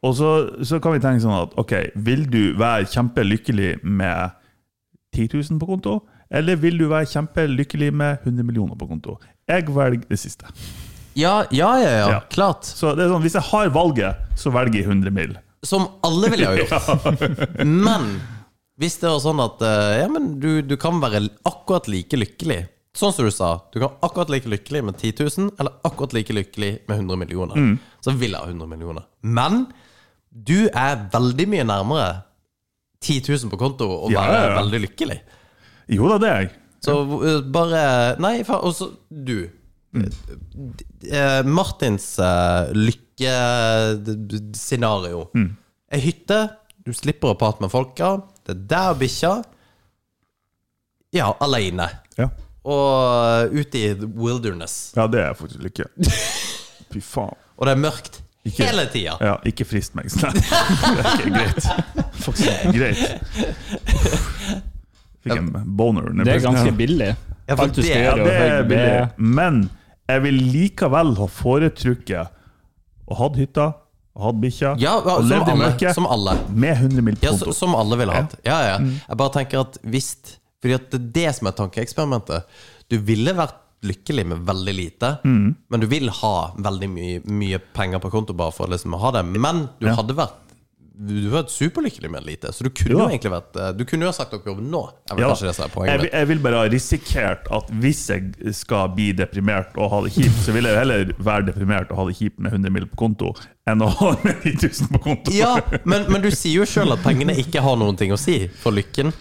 S3: Og så, så kan vi tenke sånn at ok, vil du være kjempelykkelig med 10 000 på konto, eller vil du være kjempelykkelig med 100 millioner på konto? Jeg velger det siste.
S4: Ja, ja, ja, ja,
S3: Ja.
S4: klart.
S3: Så det er sånn, hvis jeg har valget, så velger jeg 100 mill.
S4: Som alle ville ha gjort. Men hvis det var sånn at eh, ja, men du, du kan være akkurat like lykkelig Sånn som du sa, du kan akkurat like lykkelig med 10 000, eller akkurat like lykkelig med 100 millioner.
S3: Mm.
S4: Så vil jeg ha 100 millioner. Men du er veldig mye nærmere 10 000 på konto og
S3: Ja,
S4: være
S3: ja, ja.
S4: veldig lykkelig.
S3: Jo da, det er jeg.
S4: Så eh, bare Nei, fa- og så du.
S3: Mm.
S4: Eh, Martins eh, lykkescenario.
S3: Mm.
S4: Ei hytte, du slipper å prate med folka. Det er der og bikkja. Ja, aleine.
S3: Ja.
S4: Og eh, ute i wilderness.
S3: ja, det er jeg faktisk lykke. Fy faen.
S4: Og det er mørkt
S3: Ikke-
S4: hele tida.
S3: Ja, ikke frist meg. Sånn. Det er ikke greit. Faktisk ikke greit. Fikk en boner.
S2: det er ganske billig.
S4: Ja, for
S2: Alt du
S4: det-
S2: skal
S4: ja,
S3: Ja, det
S2: gjøre, og
S3: er
S2: høyde,
S3: billig. Men jeg vil likevel ha foretrukket å ha hytta, å ha bikkja,
S4: Ja, ja,
S3: og
S4: som
S3: levd i
S4: alle,
S3: mørket
S4: som alle.
S3: med 100 mill. på
S4: Ja,
S3: konto. Mm.
S4: så, som alle ville hatt. Ja, ja. Jeg bare tenker at hvis Fordi at det er det som er tankeeksperimentet. Du ville vært lykkelig med veldig lite,
S3: Mm.
S4: men du vil ha veldig mye, mye penger på konto bare for å liksom ha det. Men du hadde vært du hadde vært superlykkelig med lite, så du kunne jo
S3: Jo da.
S4: egentlig vært eh, Du kunne jo ha sagt opp jobben nå. Jeg vet
S3: Ja,
S4: kanskje det som er
S3: jeg,
S4: poenget
S3: vil-
S4: mitt.
S3: jeg vil bare ha risikert at hvis jeg skal bli deprimert og ha det kjipt, så vil jeg heller være deprimert og ha det kjipt med 100 mill. på konto, enn å ha med 9000 på konto.
S4: Ja, men, men du sier jo sjøl at pengene ikke har noen ting å si for lykken.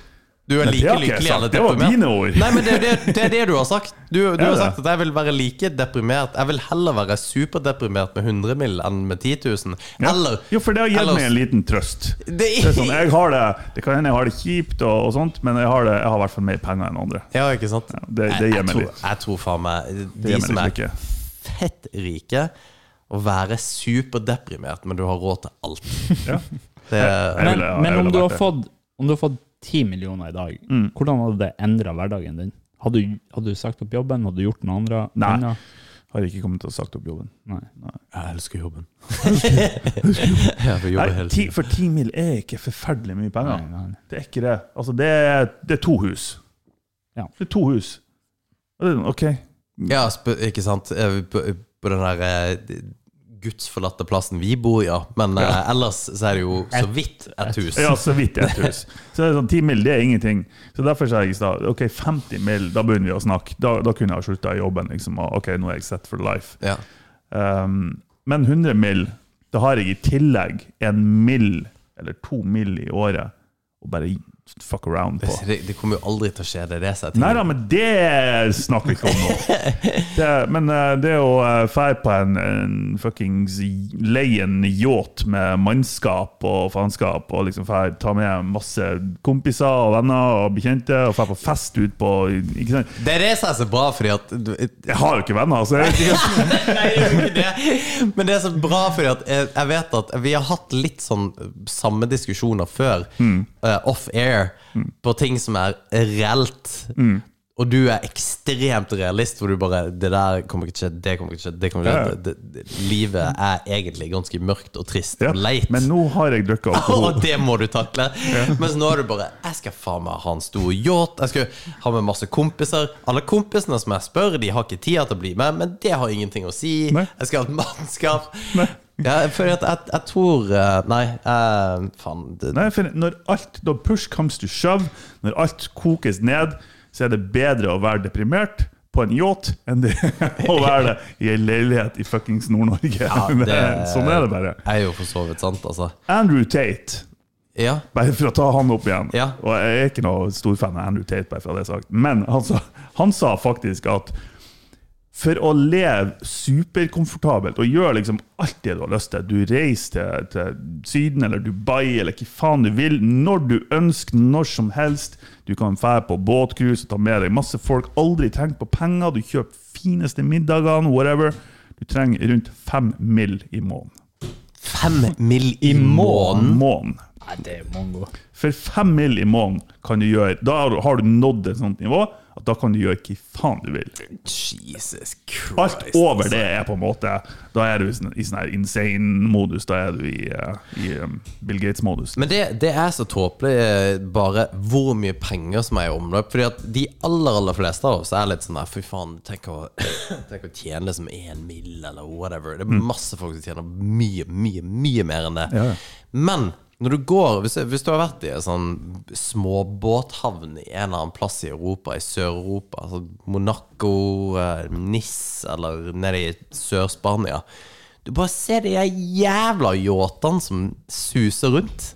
S4: Du er
S3: det
S4: like
S3: har ikke jeg
S4: lykkelig
S3: sagt.
S4: eller
S3: Det var
S4: deprimert.
S3: dine ord.
S4: Nei, men det, er det, det er det du har sagt. Du, du har
S3: det?
S4: sagt at jeg vil være like deprimert. Jeg vil heller være superdeprimert med 100 mill. enn med 10 000.
S3: Ja.
S4: Eller
S3: jo, for det har gitt
S4: eller-
S3: meg en liten trøst.
S4: Det-
S3: Det, er sånn, jeg har det, det kan hende jeg har det kjipt, og, og sånt, men jeg har, det, jeg har i hvert fall mer penger enn andre.
S4: Ja, ikke sant?
S3: det- det
S4: Jeg-
S3: gir meg
S4: jeg,
S3: litt.
S4: tror, jeg tror faen meg
S3: Det
S4: De
S3: gjør meg
S4: som er
S3: litt lykke.
S4: fett rike, å være superdeprimert, men du har råd til alt.
S3: Ja.
S4: Det,
S3: Jeg
S2: Men,
S3: ville- jeg
S2: men
S3: ville
S2: om, du
S3: vært
S2: har
S3: det. Mm.
S2: fått, om du har fått 10 millioner i dag, hvordan hadde det endra hverdagen din? Hadde du, hadde du sagt opp jobben? Hadde du gjort noe andre?
S3: Nei.
S2: annet?
S3: Har ikke kommet til å ha sagt opp jobben.
S2: Nei.
S4: jeg elsker jobben. jeg vil jobbe
S3: Nei,
S4: hele
S3: ti,
S4: tiden.
S3: for ti mil er ikke forferdelig mye penger.
S2: Nei, nei.
S3: Det er ikke det. Altså, det er, det er to hus.
S2: Ja.
S3: Det er to hus. Og det er sånn, OK.
S4: Ja, sp ikke sant? Eh, På, på den der eh, gudsforlatte plassen vi bor, ja. Men eh, ellers så er det jo så vidt et hus.
S3: Ja, så vidt et hus. Så det er sånn, 10 mil det er ingenting. Så Derfor sa jeg i stad ok, 50 mil, da begynner vi å snakke. Da, da kunne jeg ha slutta i jobben. liksom, og ok, nå er jeg set for life.
S4: Ja.
S3: Um, men 100 mil, da har jeg i tillegg en mil eller to mil i året å bare fuck around på.
S4: Så Det, det kommer jo aldri til å skje, det er det som er
S3: Nei
S4: tingen.
S3: da, men det snakker vi ikke om nå. Det, men eh, det å eh, fære på en, en fuckings leie en yacht med mannskap og faenskap, og liksom fære, ta med masse kompiser og venner og bekjente, og fære på fest ut på ikke sant?
S4: Det er det som er så bra, fordi at du-
S3: Jeg har jo ikke venner, så jeg vet ikke.
S4: Nei, det er jo ikke det. Men det er så bra, fordi at jeg, jeg vet at vi har hatt litt sånn samme diskusjoner før,
S3: Mm.
S4: eh, off air, på ting som er reelt.
S3: Mm.
S4: Og du er ekstremt realist, hvor du bare Det der kommer ikke til å skje, det kommer ikke til å skje, det kommer ikke til å skje. Det- det- det- Livet er egentlig ganske mørkt og trist
S3: Ja.
S4: og leit.
S3: Men nå har jeg drukket alkohol.
S4: Og det må du takle. Mens nå er du bare Jeg skal faen meg ha en stor yacht. Jeg skal ha med masse kompiser. Alle kompisene som jeg spør, de har ikke tida til å bli med, men det har ingenting å si.
S3: Nei.
S4: Jeg skal ha et mannskap.
S3: Nei.
S4: Ja, for jeg, jeg, jeg tror eh, Nei, eh, faen. Det,
S3: Nei, for når alt, når push comes to shove, når alt kokes ned, så er det bedre å være deprimert på en yacht enn det å være det i ei leilighet i fuckings Nord-Norge.
S4: det-
S3: sånn er det bare.
S4: jeg er jo for så vidt sant, altså.
S3: Andrew Tate,
S4: Ja.
S3: bare for å ta han opp igjen
S4: Ja.
S3: Og jeg er ikke noe stor fan av Andrew Tate, bare for å ha det sagt. Men han sa, han sa faktisk at for å leve superkomfortabelt og gjøre liksom alt det du har lyst til Du reiser til, til Syden eller Dubai eller hva faen du vil, når du ønsker, når som helst. Du kan fære på båtcruise og ta med deg masse folk. Aldri tenk på penger. Du kjøper fineste middagene, whatever. Du trenger rundt fem mill. i måneden.
S4: Fem mill. i måneden.
S3: Måneden.
S2: Nei, det er mongo.
S3: For fem mil i måneden kan du gjøre Da har du- har du nådd et sånt nivå at da kan du gjøre hva faen du vil.
S4: Jesus Christ.
S3: Alt over det er på en måte Da er du i sånn- i sånn her insane-modus. Da er du i, eh, i um, Bill Gates-modus.
S4: Men det, det er så tåpelig eh, bare hvor mye penger som er i omløp. Fordi at de aller aller fleste av oss er litt sånn der Fy faen, tenk å, tenk å tjene liksom én mill. eller whatever. Det er masse folk som tjener mye, mye, mye mer enn det.
S3: Mm. Ja, ja.
S4: Men når du går, hvis, hvis du har vært i en sånn småbåthavn i en eller annen plass i Europa, i Sør-Europa, altså Monaco, eh, Nis eller nede i Sør-Spania Du bare ser de der jævla yachtene som suser rundt.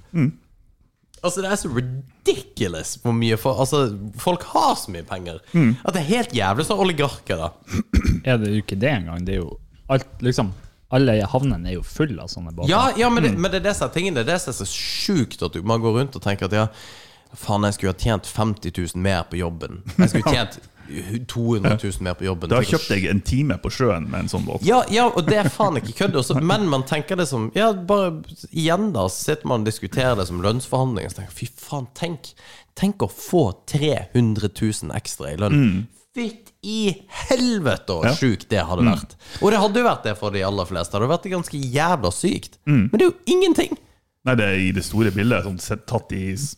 S4: Altså, det er så ridiculous hvor mye for, altså, Folk har så mye penger at det er helt jævlig. Så oligarker, da.
S2: Er det jo ikke det engang? Det er jo alt, liksom Alle havnene er jo fulle av sånne båter.
S4: Ja, ja men, det, men det er det som er tingen. Det er det som er så sjukt at du, man går rundt og tenker at ja, faen, jeg skulle ha tjent 50 000 mer på jobben. Jeg skulle tjent 200 000 mer på jobben.
S3: Da
S4: Tenk å
S3: kjøpte jeg en time på sjøen med en sånn båt.
S4: Ja, ja, og det er faen ikke kødd. også, Men man tenker det som Ja, bare igjen, da. Så sitter man og diskuterer det som lønnsforhandlinger. Så tenker jeg, fy faen, tenk. Tenk å få 300 000 ekstra i lønn. Fytt i helvete så
S3: Mm. Ja. Mm.
S4: sjukt det hadde vært. Og det hadde jo vært det for de aller fleste. Det hadde vært ganske jævla sykt.
S3: Mm.
S4: Men det er jo ingenting.
S3: Nei, det er i det store bildet, sånn sett, tatt i s-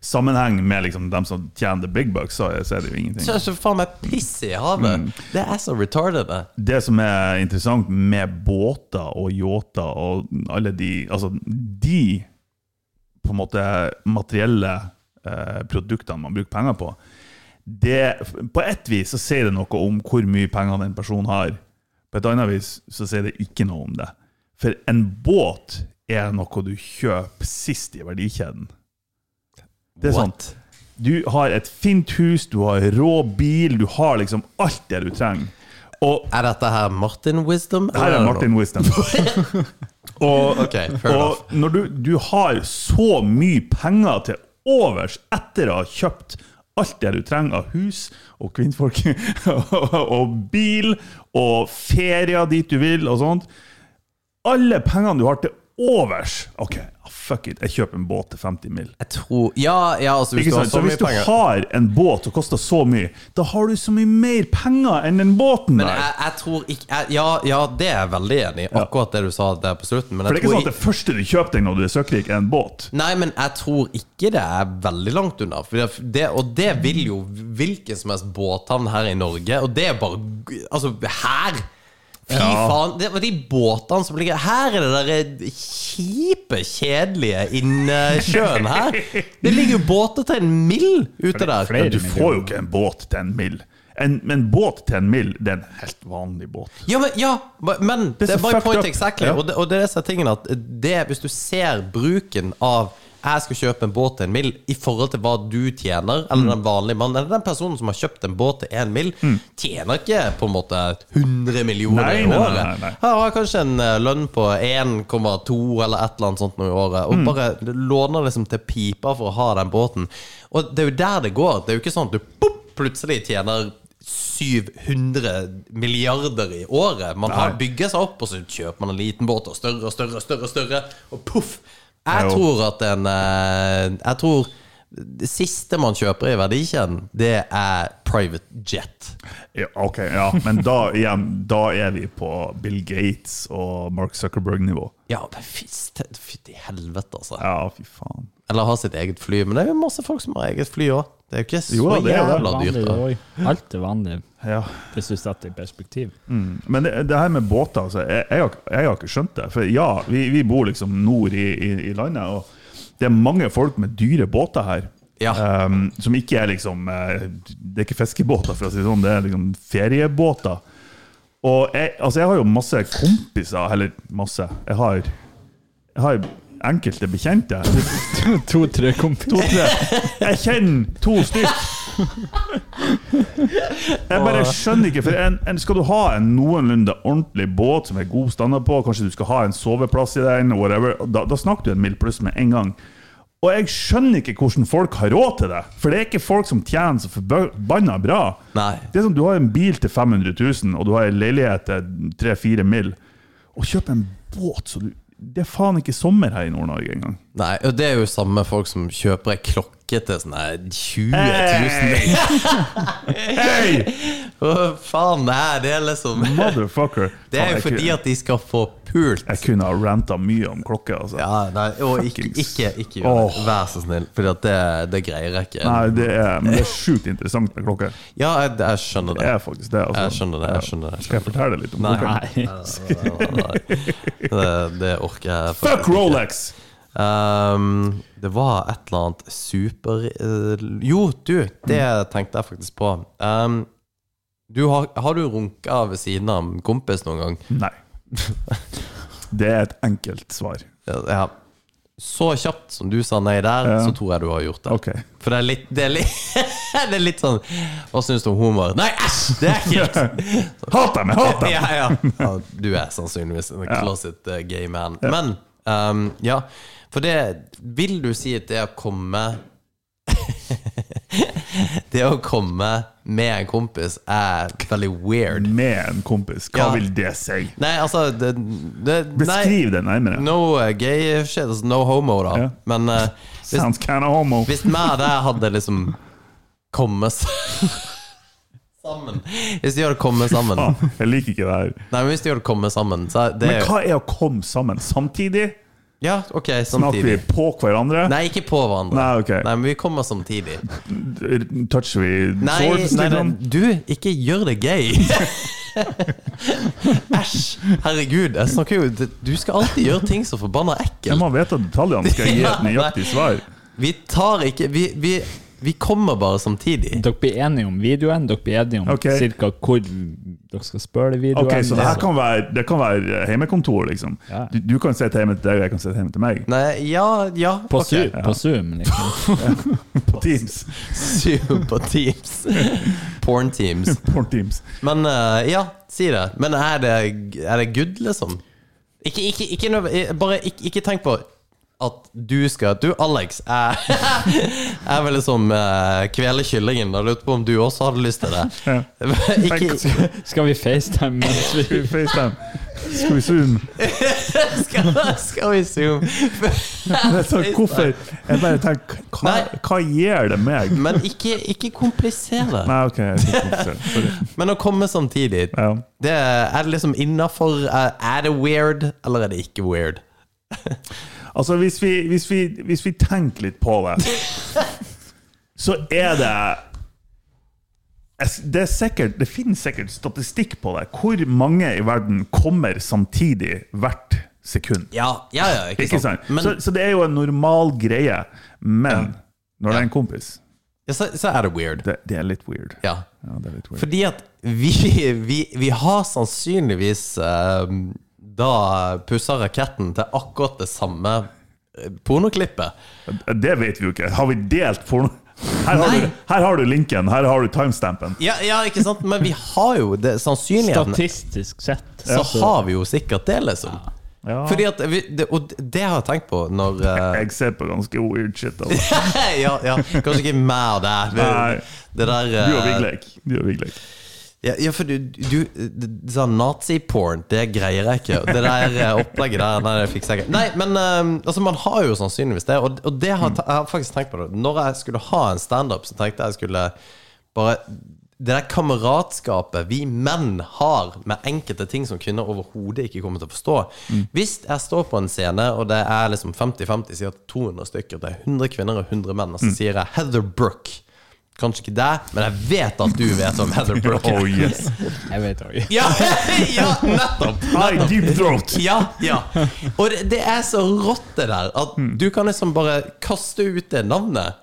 S3: sammenheng med liksom dem som tjener the big bucks, så er så er det jo ingenting.
S4: Så, så faen meg piss i havet.
S3: Mm.
S4: Det er så retarded. det.
S3: det som er interessant med båter og yachter og alle de Altså, de på en måte materielle eh, produktene man bruker penger på, det På ett vis så sier det noe om hvor mye penger den personen har. På et annet vis så sier det ikke noe om det. For en båt er noe du kjøper sist i verdikjeden. Det er sånn
S4: What?
S3: du har et fint hus, du har rå bil, du har liksom alt det du trenger. Og
S4: Er dette her Martin Wisdom?
S3: her er
S4: eller
S3: Martin Wisdom. Og,
S4: Ok, fair enough.
S3: og når du, du har så mye penger til overs etter å ha kjøpt alt det du trenger av hus og kvinnfolk og bil og ferier dit du vil og sånt Alle pengene du har til overs OK, ah, fuck it, jeg kjøper en båt til 50 mill.
S4: Jeg tror Ja, ja altså, hvis du
S3: Ikke
S4: har
S3: sant? Så
S4: så
S3: hvis
S4: mye
S3: du
S4: penger
S3: har en båt som koster så mye, da har du så mye mer penger enn den båten
S4: Men
S3: der.
S4: jeg, jeg tror ikke jeg, ja, ja, det er jeg veldig enig i, akkurat det du sa der på slutten. Men jeg
S3: For det er ikke
S4: tror
S3: sånn at det første du kjøper deg når du er søkkrik, er en båt.
S4: Nei, men jeg tror ikke det er veldig langt unna. For det, det, og det vil jo hvilken som helst båthavn her i Norge. Og det er bare Altså, her! Fy faen, det var de båtene som ligger Her er det der eh, kjipe, kjedelige innsjøen her. Det ligger jo båter til en mill ute der.
S2: flere
S3: Du
S2: millioner.
S3: får jo ikke en båt til en mil. En, en båt til en mil, det er en helt vanlig båt.
S4: Ja, men, ja, men det,
S3: så
S4: er my
S3: fucked
S4: point
S3: up.
S4: exactly.
S3: Ja.
S4: Og, det, og det er disse tingene at det, hvis du ser bruken av jeg skal kjøpe en båt til en mil i forhold til hva du tjener, eller
S3: Mm.
S4: den vanlige mannen, eller den personen som har kjøpt en båt til en mil, tjener ikke på en måte 100 millioner i
S3: Nei, nei, nei,
S4: året.
S3: nei, nei.
S4: Her har kanskje en eh, lønn på 1,2 eller et eller annet sånt noe i året,
S3: Mm.
S4: og bare låner liksom til pipa for å ha den båten. Og det er jo der det går. Det er jo ikke sånn at du pop, plutselig tjener 700 milliarder i året. Man har bygget seg opp, og så kjøper man en liten båt, og større og større og større, og større, og poff! Jeg
S3: Jo.
S4: tror at en eh, Jeg tror det siste man kjøper i verdikjeden, det er private jet.
S3: Ja, ok, ja, men da igjen, da er vi på Bill Gates og Mark Zuckerberg-nivå.
S4: Ja, men fyst- fytti helvete, altså.
S3: Ja, fy faen.
S4: Eller har sitt eget fly. Men det er jo masse folk som har eget fly òg. Det er jo ikke så
S3: Jo da, det er det.
S4: jævla
S2: Vanlig,
S4: dyrt.
S2: det
S4: da.
S2: også. Alt er vanlig,
S3: Ja.
S2: hvis du setter det i perspektiv.
S3: Mm. Men det, det her med båter, altså, jeg, jeg, har, ikke- jeg har ikke skjønt det. For ja, vi, vi bor liksom nord i, i, i landet, og det er mange folk med dyre båter her.
S4: Ja.
S3: Ehm, som ikke er liksom eh, Det er ikke fiskebåter, for å si det sånn, det er liksom feriebåter. Og jeg, altså jeg har jo masse kompiser, eller masse Jeg har, jeg har enkelte bekjente.
S2: To-tre kompiser.
S3: Jeg kjenner to stykk. Jeg bare skjønner ikke, for en, en, skal du ha en noenlunde ordentlig båt som er god standard på, kanskje du skal ha en soveplass i den, whatever, da, da snakker du en mil pluss med en gang. Og jeg skjønner ikke hvordan folk har råd til det, for det er ikke folk som tjener så forbanna bra.
S4: Nei.
S3: Det er som du har en bil til 500 000, og du har en leilighet til 3-4 mil. Å kjøpe en båt så du, Det er faen ikke sommer her i Nord-Norge engang.
S4: Nei, og det er jo samme folk som kjøper ei klokke til sånn her 20 000.
S3: Hey! hey!
S4: Å, faen, nei, det er liksom
S3: Motherfucker.
S4: Det er jo fordi at de skal få pult.
S3: Jeg kunne ha ranta mye om klokke, altså.
S4: Ja, nei, og ikke,
S3: Fuckings.
S4: ikke, ikke gjør det.
S3: Åh.
S4: Vær så snill, for det, det greier jeg ikke.
S3: Nei, det er, men det er sjukt interessant med klokke.
S4: Ja, jeg, jeg skjønner
S3: Det
S4: det.
S3: er faktisk det. Altså.
S4: Jeg skjønner det. jeg skjønner det
S3: Skal jeg fortelle litt om
S4: Nei.
S3: klokke?
S2: Nei.
S4: Nei, Det, det orker jeg
S3: Fuck
S4: ikke.
S3: Rolex!
S4: Ehm, det var et eller annet super eh, Jo, du, det tenkte jeg faktisk på. Ehm, du har, har du runka ved siden av en kompis noen gang?
S3: Nei. Det er et enkelt svar.
S4: Ja. Så kjapt som du sa nei der,
S3: Ja.
S4: så tror jeg du har gjort det.
S3: Ok.
S4: For det er litt Det er litt, det er litt sånn Hva syns du om homoer? Nei, æsj! Det er ekkelt!
S3: Hat dem! Jeg hater dem!
S4: Ja, ja. ja, du er sannsynligvis en closet eh, gay man. Men ehm, ja, for det Vil du si at det å komme Det å komme med en kompis er veldig weird?
S3: Med en kompis. Hva
S4: Ja.
S3: vil det si?
S4: Nei, altså det, det, nei,
S3: Beskriv det nærmere.
S4: No eh, gay shit, altså no homo, da.
S3: Ja.
S4: Men eh, hvis,
S3: Sounds kinda homo.
S4: hvis meg og deg hadde liksom kommet s- sammen Hvis de hadde kommet sammen
S3: Ah, jeg liker ikke det her.
S4: Nei, men hvis de hadde kommet sammen så er det
S3: Men
S4: jo-
S3: hva er å komme sammen samtidig?
S4: Ja, ok,
S3: Snakker vi
S4: samtidig.
S3: på hverandre?
S4: Nei, ikke på hverandre.
S3: Nei, ok.
S4: Nei, men vi kommer samtidig.
S3: Toucher vi
S4: Nei,
S3: swords,
S4: nei, nei,
S3: liksom?
S4: du, ikke gjør det gay! Æsj! Herregud, jeg snakker jo Du skal alltid gjøre ting så forbanna
S3: Jeg
S4: ekkelt.
S3: må vite detaljene, skal jeg gi et
S4: Ja,
S3: nøyaktig
S4: nei.
S3: svar.
S4: Vi tar ikke Vi, vi, vi kommer bare samtidig.
S2: Dere blir enige om videoen, dere blir enige om
S3: Ok.
S2: cirka hvor dere skal spørre i videoen.
S3: Ok, Så det her
S2: Så-
S3: kan være, det kan være hjemmekontor, liksom.
S2: Ja.
S3: Du, du kan sitte hjemme til deg, og jeg kan sitte hjemme til meg.
S4: Nei, ja, ja.
S2: På,
S4: ok.
S2: Zoom- på Zoom, liksom.
S3: På Teams.
S4: Zoom på Teams. Porn Teams.
S3: Porn Teams.
S4: Men eh, ja, si det. Men er det, er det good, liksom? Ikke, ikke, ikke, nødv- bare ikke, ikke tenk på at du skal Du, Alex, jeg, jeg vil liksom eh, kvele kyllingen. Jeg lurte på om du også hadde lyst til det. ikke,
S2: Skal vi FaceTime mens vi
S3: Skal vi FaceTime? Skal vi Zoom?
S4: skal, skal vi zoom?
S3: Men så, Altså, hvorfor? Jeg bare tenker, hva,
S4: Nei.
S3: hva gir det meg?
S4: Men ikke, ikke kompliser det.
S3: Nei, ok. Jeg fikk ikke se. Sorry.
S4: Men å komme samtidig,
S3: Ja.
S4: det er, er det liksom innafor? Er er det weird, eller er det ikke weird?
S3: Altså, hvis vi, hvis, vi, hvis vi tenker litt på det, så er det Jeg s- Det, er sikkert, det finnes sikkert statistikk på det. Hvor mange i verden kommer samtidig hvert sekund?
S4: Ja, ja, ja ikke,
S3: Ikke sant?
S4: sant? Men
S3: så, så det er jo en normal greie. Men når det er en kompis,
S4: ja, så, så er det weird.
S3: det, det er litt weird.
S4: Ja.
S3: Ja, det er litt weird.
S4: Fordi at vi, vi, vi har sannsynligvis eh, da pussa raketten til akkurat det samme eh, pornoklippet.
S3: Det vet vi jo ikke. Har vi delt porno? Her har,
S4: Nei.
S3: du, her har du linken, her har du timestampen.
S4: Ja, ja, ikke sant? Men vi har jo det, sannsynligheten.
S2: Statistisk sett.
S4: Så har vi jo sikkert det, liksom.
S3: Ja.
S4: Fordi at vi, det, og det har jeg tenkt på når eh,
S3: Jeg ser på ganske weird shit. Altså.
S4: ja, ja, Kanskje ikke mer der. Det,
S3: Nei.
S4: det der
S3: Du og
S4: eh,
S3: Vigleik. Du og Vigleik.
S4: Ja, ja, for du, du d- Sånn nazi-porn, det greier jeg ikke. Det der eh, opplegget der, nei, det fikser jeg ikke. Nei, men eh, altså, man har jo sannsynligvis det, og, og det har ta- jeg har faktisk tenkt på det. Når jeg skulle ha en standup, så tenkte jeg jeg skulle bare Det der kameratskapet vi menn har med enkelte ting som kvinner overhodet ikke kommer til å forstå. Hvis jeg står på en scene, og det er liksom 50-50, sier at 200 stykker, det er 100 kvinner og 100 menn, og så sier jeg Heather Brooke. Kanskje ikke deg, men jeg vet at du vet om Heather Brooke.
S3: Oh yes.
S2: Jeg vet også.
S4: Ja, ja nettopp!
S3: Hi, deep throat.
S4: Ja, ja. Og det, det er så rått, det der, at
S3: Mm.
S4: du kan liksom bare kaste ut det navnet.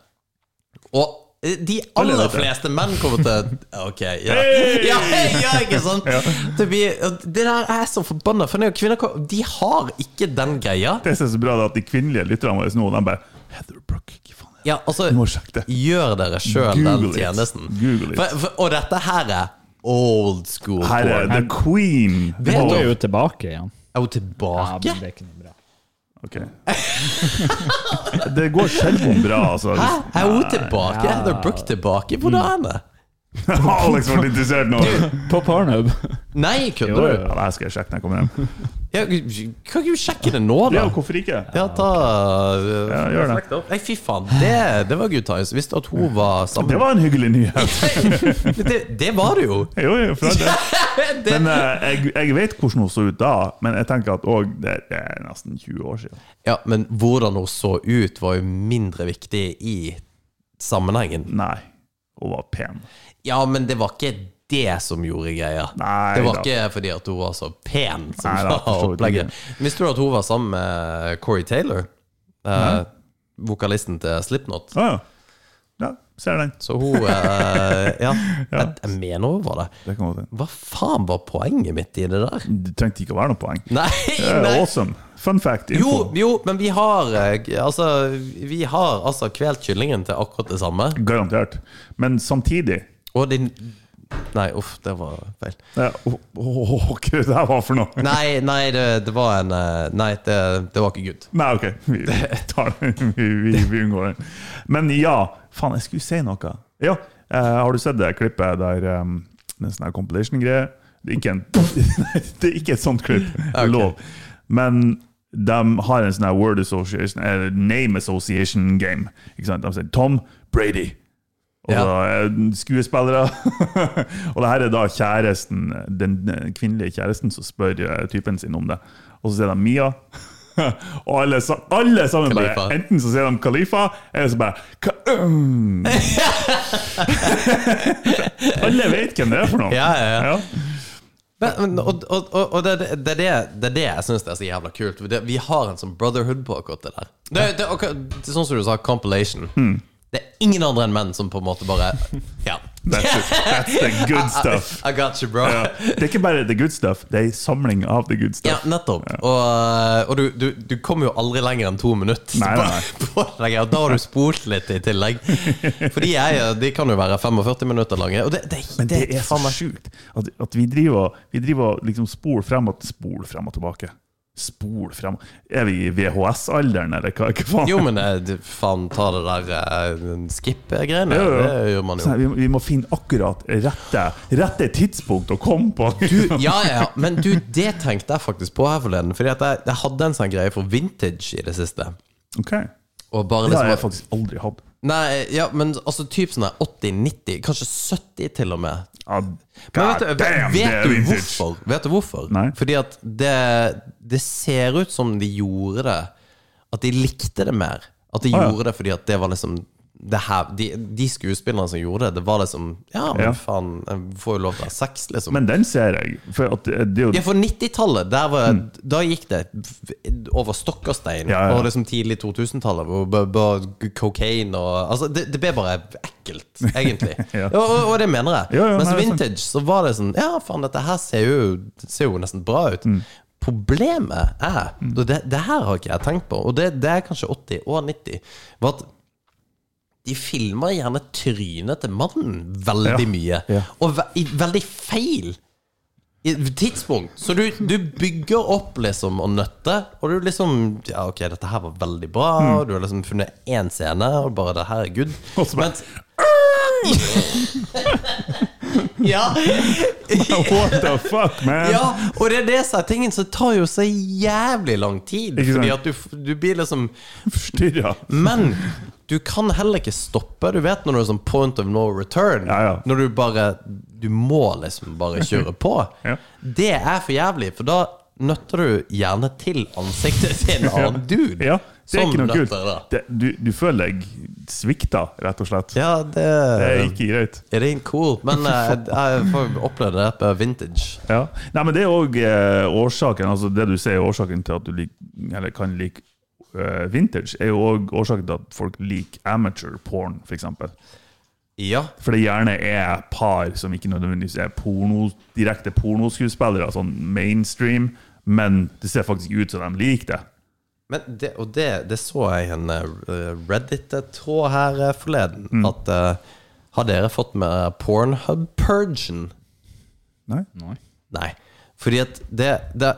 S4: Og eh, de aller
S3: Eller dette.
S4: fleste menn kommer til Ok, ja.
S3: Hey!
S4: Ja, ja ikke sant? Det, blir, og det der er så forbanna. For det er jo kvinner kom- de har ikke den greia.
S3: Det som er så bra, det er at de kvinnelige lytterne våre nå, de bare Heather Brooke, hva faen er det?
S4: Ja, altså,
S3: Du må sjekke det.
S4: gjør dere sjøl den
S3: Google it.
S4: tjenesten.
S3: Google it.
S4: For, for, og dette her er old school.
S3: Her er
S4: porn.
S3: The Queen.
S4: Vet
S2: Hun
S4: du-
S2: er jo tilbake igjen.
S4: Er hun
S2: Ja,
S4: tilbake?
S2: men det er ikke noe bra.
S3: Ok. Det går sjelden bra, altså.
S4: Hæ? Er hun tilbake? Er Heather Brooke tilbake? Hvor da er henne?
S3: Alex ble litt interessert nå.
S2: På Pornhub.
S4: Nei,
S2: Jo,
S4: kødder du?
S2: jo.
S3: Ja, det her skal jeg sjekke når jeg kommer hjem.
S4: Ja, kan ikke du sjekke det nå, da?
S3: Ja, hvorfor ikke?
S4: Ja, ta uh,
S3: Ja, gjør det.
S4: Nei, fy faen. Det, det var good times. Visste at hun var sammen
S3: Det var en hyggelig nyhet.
S4: det, det var det jo!
S3: Jo, jo, for all del.
S4: Det,
S3: Men eh, jeg, jeg vet hvordan hun så ut da, men jeg tenker at òg det det er nesten 20 år siden.
S4: ja, men hvordan hun så ut, var jo mindre viktig i sammenhengen.
S3: Nei, hun var pen.
S4: Ja, men det var ikke det som gjorde greia.
S3: Nei
S4: det var
S3: da.
S4: ikke fordi at hun var så pen som
S3: Nei da, for
S4: var
S3: så vidt
S4: opplegget. Visste du at hun var sammen med Corey Taylor? Eh, vokalisten til Slipknot.
S3: Å ja. ja. Ser den.
S4: Så hun eh, ja, Jeg, jeg mener hun var det.
S3: Det kan godt hende.
S4: Hva faen var poenget mitt i det der?
S3: Det trengte ikke å være noe poeng.
S4: Nei!
S3: Det er
S4: nei.
S3: awesome. Fun fact.
S4: Jo,
S3: Info.
S4: jo, men vi har eh, Altså, vi har altså kvelt kyllingen til akkurat det samme.
S3: Garantert. Men samtidig
S4: Og din Nei, uff, det var feil.
S3: ja, å- å- å, Hva det her var for noe?
S4: Nei, nei, det, det var en eh, Nei, det, det var ikke good.
S3: Nei, OK. Vi, tar, den. vi, vi, vi unngår den. Men ja Faen, jeg skulle si noe. Ja, eh, Har du sett det klippet der um, Det er en sånn her compilation-greie. Det er ikke en Nei, Det er ikke et sånt klipp. Lov. Men de har en sånn her word association, eller name association game. Ikke sant? De sier Tom Brady. Og
S4: Ja.
S3: så er det skuespillere. og det her er da kjæresten, den kvinnelige kjæresten som spør eh, typen sin om det. Og så sier de Mia. og alle, sa- alle sammen
S4: Khalifa.
S3: bare Enten så sier de Khalifa, eller så bare Ka mm. Alle vet hvem det er for noe.
S4: Ja, ja, ja.
S3: Ja.
S4: Men, men, og og, og, og det, det, det, er det, det er det jeg syns er så jævla kult. Det, vi har en sånn brotherhood på akkurat det der. Det, det, ok, det er sånn som du sa, compilation. Det er ingen andre enn menn som på en måte bare Ja.
S3: That's, it. That's the good stuff.
S4: I got you, bro.
S3: Ja. Det er ikke bare the good stuff, det er en samling av the good
S4: Ja,
S3: stuff.
S4: nettopp. Og, og du, du, du kommer jo aldri lenger enn to minutter.
S3: Nei, nei, nei.
S4: På, på deg, og da har du spolt litt i tillegg. For de, er, jo- de kan jo være 45 minutter lange. Og det, det,
S3: Men det, er så
S4: faen meg-
S3: sjukt at, at vi driver og- vi driver og liksom spol frem og spol frem og tilbake. Spol frem Er vi i VHS-alderen, eller hva, hva faen?
S4: Jo, men eh, du, faen, ta det der eh, skip-greiene.
S3: Ja, ja.
S4: Det gjør man jo.
S3: Sånn, vi, vi må finne akkurat rette, rette tidspunkt å komme på.
S4: Du, ja, ja, ja. Men du, det tenkte jeg faktisk på her forleden. Fordi at jeg, jeg hadde en sånn greie for vintage i det siste.
S3: Ok.
S4: Og bare
S3: Det
S4: liksom
S3: har jeg faktisk aldri hatt.
S4: Nei, ja, men altså typ sånn her 80, 90, kanskje 70 til og med.
S3: Ja,
S4: Men vet,
S3: god
S4: du-
S3: damn, det
S4: vet
S3: er
S4: du
S3: vintage.
S4: hvorfor? Vet du hvorfor?
S3: Nei.
S4: Fordi at det, det ser ut som de gjorde det At de likte det mer. At de
S3: ja.
S4: gjorde det fordi at det var liksom det her, de, de skuespillerne som gjorde det, det var liksom Ja, men
S3: Ja.
S4: faen, jeg får jo lov til å ha sex, liksom.
S3: Men den ser jeg. For at det er jo
S4: ja, for 90-tallet, der var- da gikk det over stokk og stein.
S3: Mm. Ja, ja.
S4: Og liksom tidlig 2000-tallet, hvor b- b- cocaine og Altså, det, det ble bare ekkelt, egentlig.
S3: Ja.
S4: og, og, og det mener jeg.
S3: Ja, ja,
S4: Mens
S3: nei, det er sant.
S4: vintage, så var det sånn Ja, faen, dette her ser jo, ser jo nesten bra ut.
S3: Mm.
S4: Problemet er, og det, det her har ikke jeg tenkt på, og det, det er kanskje 80 og 90, var at de filmer gjerne trynet til mannen veldig mye, og ve i veldig feil i- tidspunkt. Så du, du bygger opp liksom og nøtter, og du liksom Ja, ok, dette her var veldig bra, og du har liksom funnet én scene, og bare det her er good.
S3: Mm. Og så bare-
S4: Mens- ja,
S3: What the fuck, man?
S4: ja, og det er det som er tingen som tar jo så jævlig lang tid.
S3: Ikke sant?
S4: Fordi at du, f- du blir liksom
S3: Forstyrra.
S4: Men du kan heller ikke stoppe. Du vet når du er sånn point of no return.
S3: Ja, ja.
S4: Når du bare Du må liksom bare kjøre på.
S3: Ja.
S4: Det er for jævlig, for da nøtter du gjerne til ansiktet til en annen dude.
S3: Ja, det er
S4: som
S3: ikke noe
S4: nøtter
S3: kult.
S4: sånn da.
S3: Det, du, du føler deg svikta, rett og slett.
S4: Ja, det,
S3: Det er ikke greit.
S4: It ain't cool. Men eh, jeg får oppleve det på vintage.
S3: Ja. Nei, men det er òg eh, årsaken altså Det du sier er årsaken til at du lik, eller kan like eh, vintage, er jo òg årsaken til at folk liker amateur porn, f.eks. For, eksempel.
S4: Ja.
S3: for det gjerne er par som ikke nødvendigvis er porno, direkte pornoskuespillere, sånn mainstream, men det ser faktisk ut som de liker det.
S4: Men det, og det, det så jeg i en eh, Reddit-tråd her eh, forleden.
S3: Mm.
S4: At eh, har dere fått med eh, Pornhub-purgen?
S3: Nei?
S4: Nei. Fordi at det, det